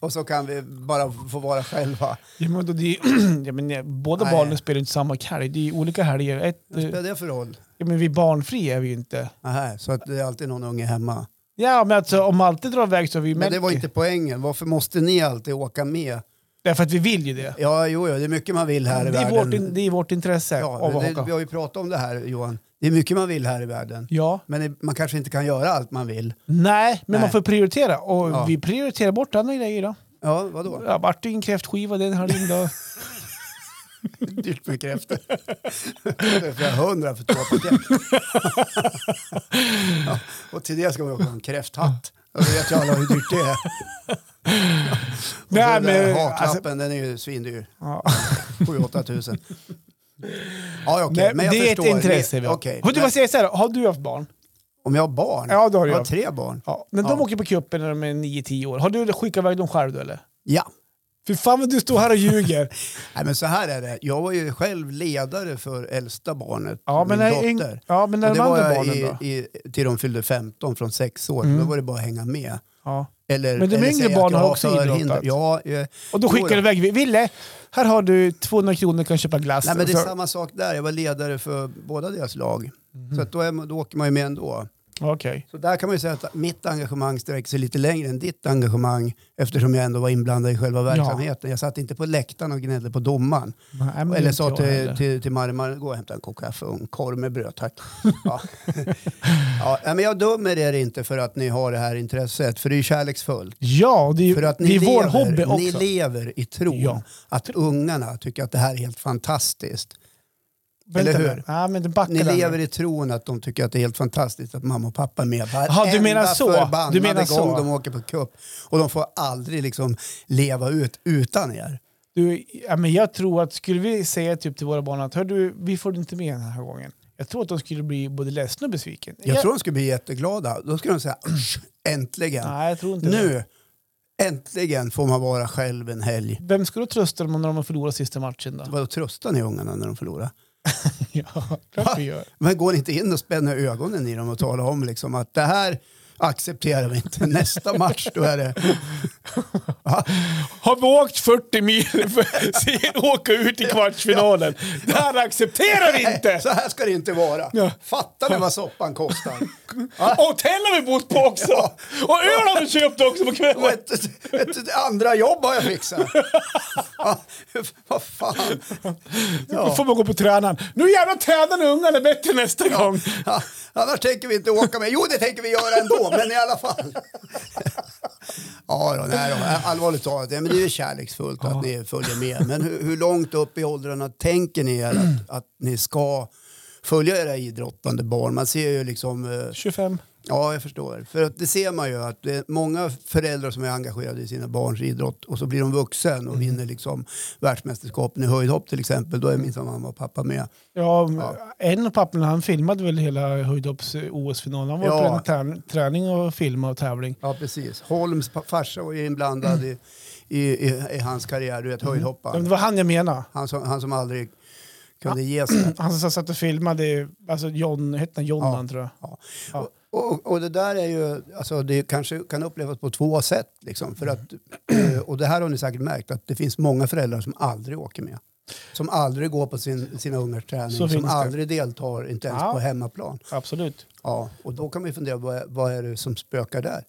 [SPEAKER 1] Och så kan vi bara få vara själva.
[SPEAKER 2] Ja, men då, det är, ja, men, eh, båda
[SPEAKER 1] Nej.
[SPEAKER 2] barnen spelar ju inte samma helg. Det är ju olika helger. Ett,
[SPEAKER 1] Vad
[SPEAKER 2] eh,
[SPEAKER 1] spelar det för roll?
[SPEAKER 2] ja, men vi är barnfria är vi ju inte.
[SPEAKER 1] Aha, så att det är alltid någon unge hemma.
[SPEAKER 2] Ja, men alltså, om alltid drar iväg så har vi ju
[SPEAKER 1] Men det
[SPEAKER 2] märkt
[SPEAKER 1] var inte poängen. Varför måste ni alltid åka med?
[SPEAKER 2] Därför att vi vill ju det.
[SPEAKER 1] Ja, jo, jo det är mycket man vill här i
[SPEAKER 2] Det är,
[SPEAKER 1] världen.
[SPEAKER 2] vårt, in- det är vårt intresse
[SPEAKER 1] ja,
[SPEAKER 2] av
[SPEAKER 1] men
[SPEAKER 2] att
[SPEAKER 1] det, vi
[SPEAKER 2] åka.
[SPEAKER 1] har ju pratat om det här, Johan. Det är mycket man vill här i världen.
[SPEAKER 2] Ja,
[SPEAKER 1] Men det, man kanske inte kan göra allt man vill.
[SPEAKER 2] nej, men
[SPEAKER 1] Nej.
[SPEAKER 2] man får prioritera. Och
[SPEAKER 1] Ja.
[SPEAKER 2] vi prioriterar bort andra grejer då.
[SPEAKER 1] Ja, vadå?
[SPEAKER 2] Ja, vart det ju en kräftskiva den helgen då.
[SPEAKER 1] Dyrt med kräftor. Det är Flera hundra för två paket. ja, och till det ska man också ha en kräfthatt. Och då vet ju alla hur dyrt det är. Och
[SPEAKER 2] Nej,
[SPEAKER 1] så den där
[SPEAKER 2] men, alltså-
[SPEAKER 1] haklappen, den är ju svindyr.
[SPEAKER 2] Ja.
[SPEAKER 1] 7-8 tusen. Ja, okej.
[SPEAKER 2] Nej,
[SPEAKER 1] men jag
[SPEAKER 2] det är
[SPEAKER 1] förstår.
[SPEAKER 2] ett intresse
[SPEAKER 1] Det-
[SPEAKER 2] vi har.
[SPEAKER 1] okej.
[SPEAKER 2] Får du
[SPEAKER 1] Men
[SPEAKER 2] bara säga så här, då, har du haft barn?
[SPEAKER 1] Om jag har barn?
[SPEAKER 2] Ja, det har du
[SPEAKER 1] jag har
[SPEAKER 2] haft.
[SPEAKER 1] tre barn.
[SPEAKER 2] Ja. Men de
[SPEAKER 1] Ja.
[SPEAKER 2] åker på kuppen när de är 9-10 år. Har du skickat iväg dem själv då eller?
[SPEAKER 1] Ja.
[SPEAKER 2] Fy fan vad du står här och ljuger.
[SPEAKER 1] Nej, men så här är det. Jag var ju själv ledare för äldsta barnet,
[SPEAKER 2] Ja,
[SPEAKER 1] min
[SPEAKER 2] men när,
[SPEAKER 1] dotter.
[SPEAKER 2] ja, men när
[SPEAKER 1] Och
[SPEAKER 2] de
[SPEAKER 1] det var
[SPEAKER 2] andra
[SPEAKER 1] jag
[SPEAKER 2] barnen
[SPEAKER 1] i,
[SPEAKER 2] då?
[SPEAKER 1] I, till de fyllde 15 från 6 år.
[SPEAKER 2] Mm.
[SPEAKER 1] Då var det bara att hänga med.
[SPEAKER 2] Ja.
[SPEAKER 1] Eller,
[SPEAKER 2] Men de
[SPEAKER 1] eller
[SPEAKER 2] yngre
[SPEAKER 1] säga att
[SPEAKER 2] barnen
[SPEAKER 1] jag
[SPEAKER 2] har
[SPEAKER 1] var
[SPEAKER 2] också
[SPEAKER 1] förhindrad.
[SPEAKER 2] idrottat.
[SPEAKER 1] Ja, eh,
[SPEAKER 2] Och
[SPEAKER 1] Jo,
[SPEAKER 2] då skickar
[SPEAKER 1] ja.
[SPEAKER 2] du iväg, Ville, här har du 200 kronor kan köpa glass.
[SPEAKER 1] nej, men det är
[SPEAKER 2] Alltså, Så-
[SPEAKER 1] samma sak där. Jag var ledare för båda deras lag. Så att då, är, man- då åker man ju med ändå.
[SPEAKER 2] Okej.
[SPEAKER 1] Så där kan man ju säga att mitt engagemang sträcker sig lite längre än ditt engagemang eftersom jag ändå var inblandad i själva verksamheten. Jag satt inte på läktaren och gnällde på domaren.
[SPEAKER 2] Nej, men det är
[SPEAKER 1] Eller
[SPEAKER 2] inte
[SPEAKER 1] sa
[SPEAKER 2] Mm, jag
[SPEAKER 1] till,
[SPEAKER 2] heller.
[SPEAKER 1] till, till Marmar, gå och hämta en kopp kaffe och en korv med bröd tack. Ja. ja, nej, men jag dömer er inte för att ni har det här intresset, för det är ju kärleksfullt.
[SPEAKER 2] Ja, det är,
[SPEAKER 1] För att ni,
[SPEAKER 2] det är vår
[SPEAKER 1] lever,
[SPEAKER 2] hobby
[SPEAKER 1] ni
[SPEAKER 2] också.
[SPEAKER 1] lever i tron
[SPEAKER 2] Ja.
[SPEAKER 1] att ungarna tycker att det här är helt fantastiskt.
[SPEAKER 2] Vänta
[SPEAKER 1] eller
[SPEAKER 2] nu.
[SPEAKER 1] hur?
[SPEAKER 2] Ja, men det backar
[SPEAKER 1] Ni
[SPEAKER 2] där nu.
[SPEAKER 1] lever i tron att de tycker att det är helt fantastiskt att mamma och pappa är med
[SPEAKER 2] Jaha, du menar
[SPEAKER 1] Varenda
[SPEAKER 2] så. Du
[SPEAKER 1] förbannade
[SPEAKER 2] menar
[SPEAKER 1] gång
[SPEAKER 2] så.
[SPEAKER 1] de åker på cup. Och de får aldrig liksom leva ut utan er.
[SPEAKER 2] Du, ja, men jag tror att skulle vi säga typ till våra barn att Hör du, vi får inte med den här gången. Jag tror att de skulle bli både ledsna och besviken.
[SPEAKER 1] Jag tror de skulle bli jätteglada. Då skulle de säga "Usch, äntligen.
[SPEAKER 2] Nej, jag tror inte det.
[SPEAKER 1] Nu, äntligen får man vara själv en helg.
[SPEAKER 2] Vem ska då trösta dem när de har förlorat sista matchen då?
[SPEAKER 1] Vadå tröstar ni ungarna när de förlorar?
[SPEAKER 2] ja, klart vi gör.
[SPEAKER 1] Men går ni inte in och spänner ögonen i dem och talar om liksom att det här accepterar vi inte. Nästa match då är det...
[SPEAKER 2] Har vi åkt 40 mil för att se er åka ut i kvartsfinalen? Det här accepterar vi inte!
[SPEAKER 1] Så här ska det inte vara.
[SPEAKER 2] Ja.
[SPEAKER 1] Fattar ni vad soppan kostar?
[SPEAKER 2] Och hotell har vi bott på också! Och öl har vi köpt också på
[SPEAKER 1] Och
[SPEAKER 2] kvällen!
[SPEAKER 1] ett, ett, ett andra jobb har jag fixat. Ja, vad fan.
[SPEAKER 2] Då får man gå på tränaren. Nu jävlar tränar ungarna bättre nästa gång!
[SPEAKER 1] Ja, annars tänker vi inte åka med. Jo, det tänker vi göra ändå, men i alla fall. Ja, då, nej, då. allvarligt talat, ja, men det är ju kärleksfullt att ni följer med. Men hur, hur långt upp i åldrarna tänker ni er att, att ni ska följa era idrottande barn? Man ser ju liksom... eh,
[SPEAKER 2] 25.
[SPEAKER 1] Ja, jag förstår. För att det ser man ju att det är många föräldrar som är engagerade i sina barns idrott och så blir de vuxen och vinner liksom världsmästerskapen i höjdhopp till exempel. Då är minsann mamma och pappa med.
[SPEAKER 2] Ja, en av papporna han filmade väl hela höjdhopps-OS-finalen. Han var
[SPEAKER 1] Ja.
[SPEAKER 2] på en tär- träning och filmade och tävling.
[SPEAKER 1] Ja, precis. Holms pa- farsa var ju inblandad i, i, i, i hans karriär, du vet
[SPEAKER 2] Mm. Ja, men
[SPEAKER 1] höjdhopparen.
[SPEAKER 2] Det var han jag menade.
[SPEAKER 1] Han som, han som aldrig kunde ge sig.
[SPEAKER 2] Han som satt och filmade, alltså John, hette han John han tror jag.
[SPEAKER 1] Ja.
[SPEAKER 2] Ja.
[SPEAKER 1] Och, och det där är ju, alltså det kanske kan upplevas på två sätt. Liksom, för att, eh, och det här har ni säkert märkt, att det finns många föräldrar som aldrig åker med. Som aldrig går på sin, sina ungars träning,
[SPEAKER 2] Så
[SPEAKER 1] som
[SPEAKER 2] finns det.
[SPEAKER 1] aldrig deltar, inte ens
[SPEAKER 2] Ja.
[SPEAKER 1] på hemmaplan.
[SPEAKER 2] Absolut.
[SPEAKER 1] Ja, och då kan man ju fundera, vad är, vad är det som spökar där?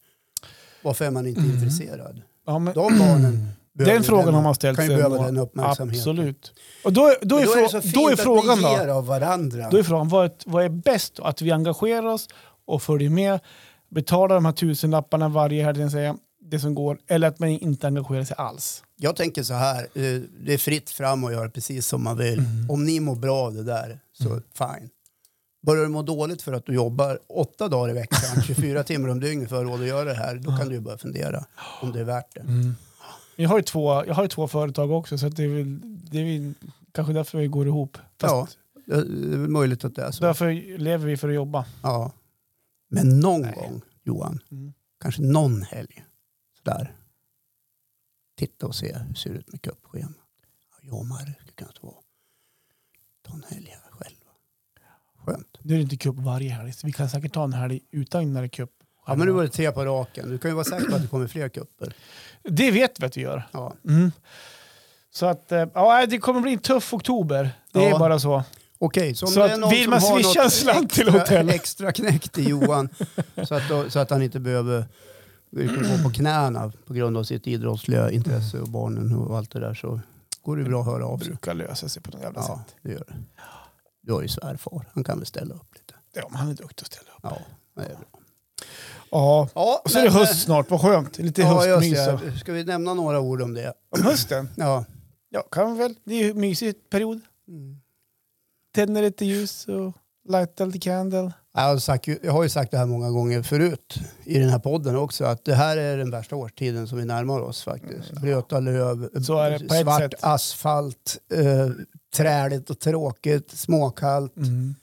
[SPEAKER 1] Varför är man inte
[SPEAKER 2] Mm.
[SPEAKER 1] intresserad?
[SPEAKER 2] Ja, men,
[SPEAKER 1] De barnen behöver
[SPEAKER 2] den
[SPEAKER 1] ju
[SPEAKER 2] frågan
[SPEAKER 1] den,
[SPEAKER 2] har man ställt
[SPEAKER 1] kan ju
[SPEAKER 2] sig.
[SPEAKER 1] behöva
[SPEAKER 2] några-
[SPEAKER 1] den uppmärksamheten.
[SPEAKER 2] Absolut. Och då, då, är,
[SPEAKER 1] Men Då är det så
[SPEAKER 2] frå-
[SPEAKER 1] fint
[SPEAKER 2] då är frågan
[SPEAKER 1] att vi ger
[SPEAKER 2] då.
[SPEAKER 1] av varandra.
[SPEAKER 2] Då är frågan, vad är, vad är bäst? då? Att vi engagerar oss och följer med, betalar de här tusenlapparna varje helg, så att säga, det som går, eller att man inte engagerar sig alls.
[SPEAKER 1] Jag tänker så här, eh, det är fritt fram att göra precis som man vill.
[SPEAKER 2] Mm.
[SPEAKER 1] Om ni mår bra av det där, så fine. Börjar du må dåligt för att du jobbar åtta dagar i veckan, 24 timmar om dygnet för att ha råd att göra det här, då kan du ju börja fundera om det är värt det.
[SPEAKER 2] Jag har ju två, jag har ju två företag också, så att det, är väl, det är väl kanske därför vi går ihop. Fast
[SPEAKER 1] Ja, det är väl möjligt att det är så.
[SPEAKER 2] Därför lever vi för att jobba.
[SPEAKER 1] Ja. Men någon
[SPEAKER 2] Nej.
[SPEAKER 1] gång, Johan,
[SPEAKER 2] Mm.
[SPEAKER 1] kanske någon helg, sådär. Titta och se hur det ser ut med cupschema. Jag och Marre skulle kunna ta ta en helg här själva. Skönt.
[SPEAKER 2] Nu är det inte cup varje helg, så vi kan säkert ta en helg utan när det är cup.
[SPEAKER 1] Ja, men nu var det tre på raken. Du kan ju vara säker på att det kommer fler kupper.
[SPEAKER 2] Det vet vi att vi gör.
[SPEAKER 1] Ja.
[SPEAKER 2] Mm. Så att, eh, ja, det kommer bli en tuff oktober. Det
[SPEAKER 1] Ja.
[SPEAKER 2] är bara så.
[SPEAKER 1] Okej, så om
[SPEAKER 2] Så
[SPEAKER 1] det är
[SPEAKER 2] att
[SPEAKER 1] någon
[SPEAKER 2] vill man
[SPEAKER 1] som har
[SPEAKER 2] swisha
[SPEAKER 1] något
[SPEAKER 2] en slant till
[SPEAKER 1] extra-
[SPEAKER 2] hotellet?
[SPEAKER 1] extra knäckt till Johan så att, då, så att han inte behöver gå på knäna på grund av sitt idrottsliga intresse och barnen och allt det där så går det bra att höra av sig.
[SPEAKER 2] brukar lösa sig på något jävla
[SPEAKER 1] Ja,
[SPEAKER 2] sätt.
[SPEAKER 1] det gör det. Du har ju svärfar, han kan väl ställa upp lite.
[SPEAKER 2] Ja, men han är duktig att ställa upp.
[SPEAKER 1] Ja, det är bra.
[SPEAKER 2] Ja.
[SPEAKER 1] Ja, eh,
[SPEAKER 2] Och så är det höst snart, vad skönt. Lite
[SPEAKER 1] Ja, just
[SPEAKER 2] höstmys. och-
[SPEAKER 1] det. Ska vi nämna några ord om det?
[SPEAKER 2] Om hösten?
[SPEAKER 1] Ja.
[SPEAKER 2] Ja, kan vi väl. Det är ju en mysig period.
[SPEAKER 1] Mm.
[SPEAKER 2] Tänder lite ljus och lighta lite candle.
[SPEAKER 1] Jag har, sagt, jag har ju sagt det här många gånger förut i den här podden också att det här är den värsta årstiden som vi närmar oss faktiskt. Blöta löv,
[SPEAKER 2] Mm. Så är det på ett
[SPEAKER 1] svart
[SPEAKER 2] sätt.
[SPEAKER 1] asfalt, eh, träligt och tråkigt, småkallt.
[SPEAKER 2] Mm.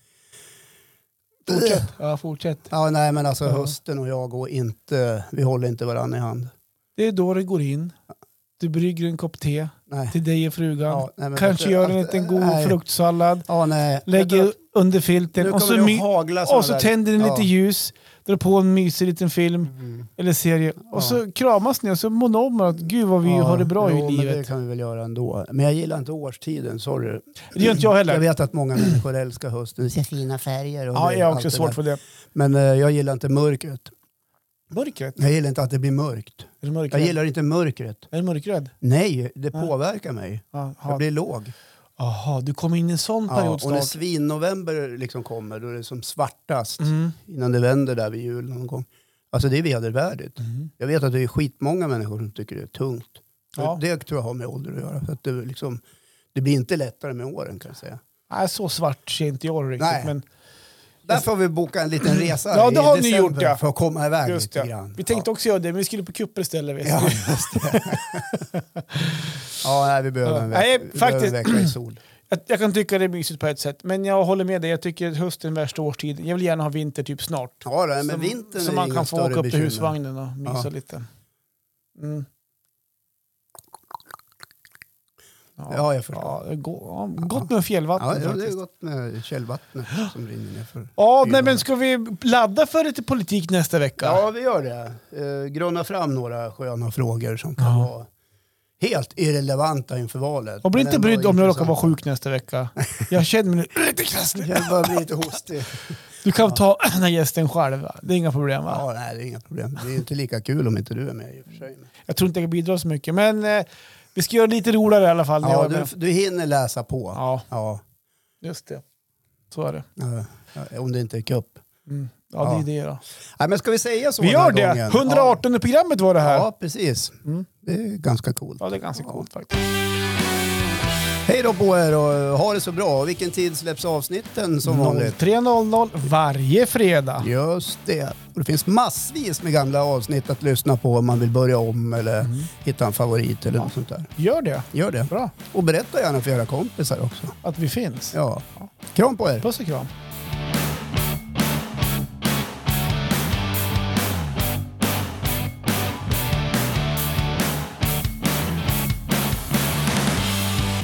[SPEAKER 2] Fortsätt. Ja, fortsätt.
[SPEAKER 1] Ja, nej men alltså
[SPEAKER 2] Ja.
[SPEAKER 1] hösten och jag går inte, vi håller inte varandra i hand.
[SPEAKER 2] Det är då det går in. Du brygger en kopp te
[SPEAKER 1] Nej.
[SPEAKER 2] till dig och frugan.
[SPEAKER 1] Ja, nej, men vet
[SPEAKER 2] Kanske
[SPEAKER 1] du,
[SPEAKER 2] gör en
[SPEAKER 1] allt-
[SPEAKER 2] liten god
[SPEAKER 1] nej.
[SPEAKER 2] fruktsallad.
[SPEAKER 1] Ja, nej. Vet du
[SPEAKER 2] Lägger
[SPEAKER 1] att-
[SPEAKER 2] under
[SPEAKER 1] nu
[SPEAKER 2] filten och så,
[SPEAKER 1] kommer det att
[SPEAKER 2] my-
[SPEAKER 1] hagla såna
[SPEAKER 2] och så
[SPEAKER 1] där-
[SPEAKER 2] tänder ni
[SPEAKER 1] Ja. Mm.
[SPEAKER 2] lite ljus. drar på en mysig liten film eller serie och så kramas ni och så mår ni om att gud vad vi
[SPEAKER 1] Ja,
[SPEAKER 2] har det bra
[SPEAKER 1] jo,
[SPEAKER 2] i
[SPEAKER 1] Men det
[SPEAKER 2] livet.
[SPEAKER 1] kan vi väl göra ändå. Men jag gillar inte årstiden, sorry.
[SPEAKER 2] Det gör inte jag heller.
[SPEAKER 1] Jag vet att många människor älskar hösten. Det är fina färger och
[SPEAKER 2] Ja,
[SPEAKER 1] det-
[SPEAKER 2] jag har
[SPEAKER 1] allt
[SPEAKER 2] också
[SPEAKER 1] det
[SPEAKER 2] svårt
[SPEAKER 1] där.
[SPEAKER 2] för det.
[SPEAKER 1] Men eh, jag gillar inte mörkret.
[SPEAKER 2] Mörkret?
[SPEAKER 1] Jag gillar inte att det blir mörkt.
[SPEAKER 2] Är du
[SPEAKER 1] Jag
[SPEAKER 2] mörkrädd?
[SPEAKER 1] gillar inte mörkret.
[SPEAKER 2] Är du mörkrädd?
[SPEAKER 1] Nej, det
[SPEAKER 2] Nej.
[SPEAKER 1] påverkar mig. Jag
[SPEAKER 2] Jaha,
[SPEAKER 1] blir låg.
[SPEAKER 2] Aha, du kom in i en sån
[SPEAKER 1] Ja,
[SPEAKER 2] period
[SPEAKER 1] och när
[SPEAKER 2] snart.
[SPEAKER 1] svinnovember liksom kommer, då är det som svartast.
[SPEAKER 2] Mm.
[SPEAKER 1] Innan det vänder där vid jul någon gång. Alltså det är vedervärdigt.
[SPEAKER 2] Mm.
[SPEAKER 1] Jag vet att det är skitmånga människor som tycker det är tungt.
[SPEAKER 2] Ja.
[SPEAKER 1] Det tror jag har med ålder att göra. Så att det, liksom, det blir inte lättare med åren kan jag säga.
[SPEAKER 2] Nej, så svart ser inte jag det riktigt.
[SPEAKER 1] Nej.
[SPEAKER 2] Men
[SPEAKER 1] Där får vi boka en liten resa
[SPEAKER 2] Ja, det
[SPEAKER 1] i
[SPEAKER 2] har ni
[SPEAKER 1] december
[SPEAKER 2] gjort, ja.
[SPEAKER 1] för att komma iväg
[SPEAKER 2] just
[SPEAKER 1] lite
[SPEAKER 2] det.
[SPEAKER 1] grann.
[SPEAKER 2] Vi tänkte också göra det, men vi skulle på kupper istället. vet
[SPEAKER 1] Ja,
[SPEAKER 2] du.
[SPEAKER 1] just det. ja, nej, vi behöver en vecka,
[SPEAKER 2] Nej,
[SPEAKER 1] vi behöver en
[SPEAKER 2] faktiskt.
[SPEAKER 1] vecka i sol.
[SPEAKER 2] Jag, jag kan tycka det är mysigt på ett sätt, men jag håller med dig. Jag tycker att hösten är den värsta årstiden. Jag vill gärna ha vinter typ snart.
[SPEAKER 1] Ja, det, men
[SPEAKER 2] Som-
[SPEAKER 1] vintern
[SPEAKER 2] Så
[SPEAKER 1] är
[SPEAKER 2] man
[SPEAKER 1] inga
[SPEAKER 2] kan få
[SPEAKER 1] större
[SPEAKER 2] åka upp till
[SPEAKER 1] bekymmer.
[SPEAKER 2] husvagnen och mysa
[SPEAKER 1] Ja.
[SPEAKER 2] lite. Mm. Ja,
[SPEAKER 1] Ja, jag förstår.
[SPEAKER 2] ja, det är go- ja, gott med fjällvatten
[SPEAKER 1] Ja, det är
[SPEAKER 2] faktiskt.
[SPEAKER 1] gott med källvattnet som rinner ner för.
[SPEAKER 2] Ja,
[SPEAKER 1] Det är
[SPEAKER 2] nej, men
[SPEAKER 1] gott.
[SPEAKER 2] ska vi ladda för lite politik nästa vecka?
[SPEAKER 1] Ja, vi gör det. Eh, grunna fram några sköna frågor som kan
[SPEAKER 2] Ja.
[SPEAKER 1] vara helt irrelevanta inför valet.
[SPEAKER 2] Och bli
[SPEAKER 1] men
[SPEAKER 2] inte
[SPEAKER 1] ändå
[SPEAKER 2] brydd om jag råkar vara
[SPEAKER 1] intressanta.
[SPEAKER 2] sjuk nästa vecka. Jag känner mig nu lite krasslig.
[SPEAKER 1] Jag börjar bli lite hostig.
[SPEAKER 2] Du kan ta den här gästen själv. va? Det är inga problem va?
[SPEAKER 1] Ja, nej, det är inga problem. Det är ju inte lika kul om inte du är med i och för sig.
[SPEAKER 2] Jag tror inte jag kan bidra så mycket. Men eh, vi ska göra det lite roligare i alla fall. när Alltså, jag
[SPEAKER 1] Ja,
[SPEAKER 2] är med.
[SPEAKER 1] du, du hinner läsa på.
[SPEAKER 2] ja
[SPEAKER 1] Ja.
[SPEAKER 2] just det. Så är det.
[SPEAKER 1] eh, Om det inte är cup.
[SPEAKER 2] Mm. Ja,
[SPEAKER 1] Ja.
[SPEAKER 2] det är det då.
[SPEAKER 1] Nej, men ska vi säga så
[SPEAKER 2] Vi
[SPEAKER 1] den
[SPEAKER 2] gör
[SPEAKER 1] här
[SPEAKER 2] det!
[SPEAKER 1] gången?
[SPEAKER 2] 118 programmet var det
[SPEAKER 1] Ja,
[SPEAKER 2] här. Ja,
[SPEAKER 1] ja precis.
[SPEAKER 2] Mm.
[SPEAKER 1] Det är ganska coolt.
[SPEAKER 2] det är ganska coolt faktiskt.
[SPEAKER 1] Hej då på er och ha det så bra. Vilken tid släpps avsnitten som vanligt?
[SPEAKER 2] 03.00 varje fredag.
[SPEAKER 1] Just det. Och det finns massvis med gamla avsnitt att lyssna på om man vill börja om eller hitta en favorit eller något sånt där.
[SPEAKER 2] Gör det.
[SPEAKER 1] Gör det.
[SPEAKER 2] Bra
[SPEAKER 1] Och berätta gärna för era kompisar också.
[SPEAKER 2] att vi finns.
[SPEAKER 1] Ja. Kram på er.
[SPEAKER 2] Puss och kram.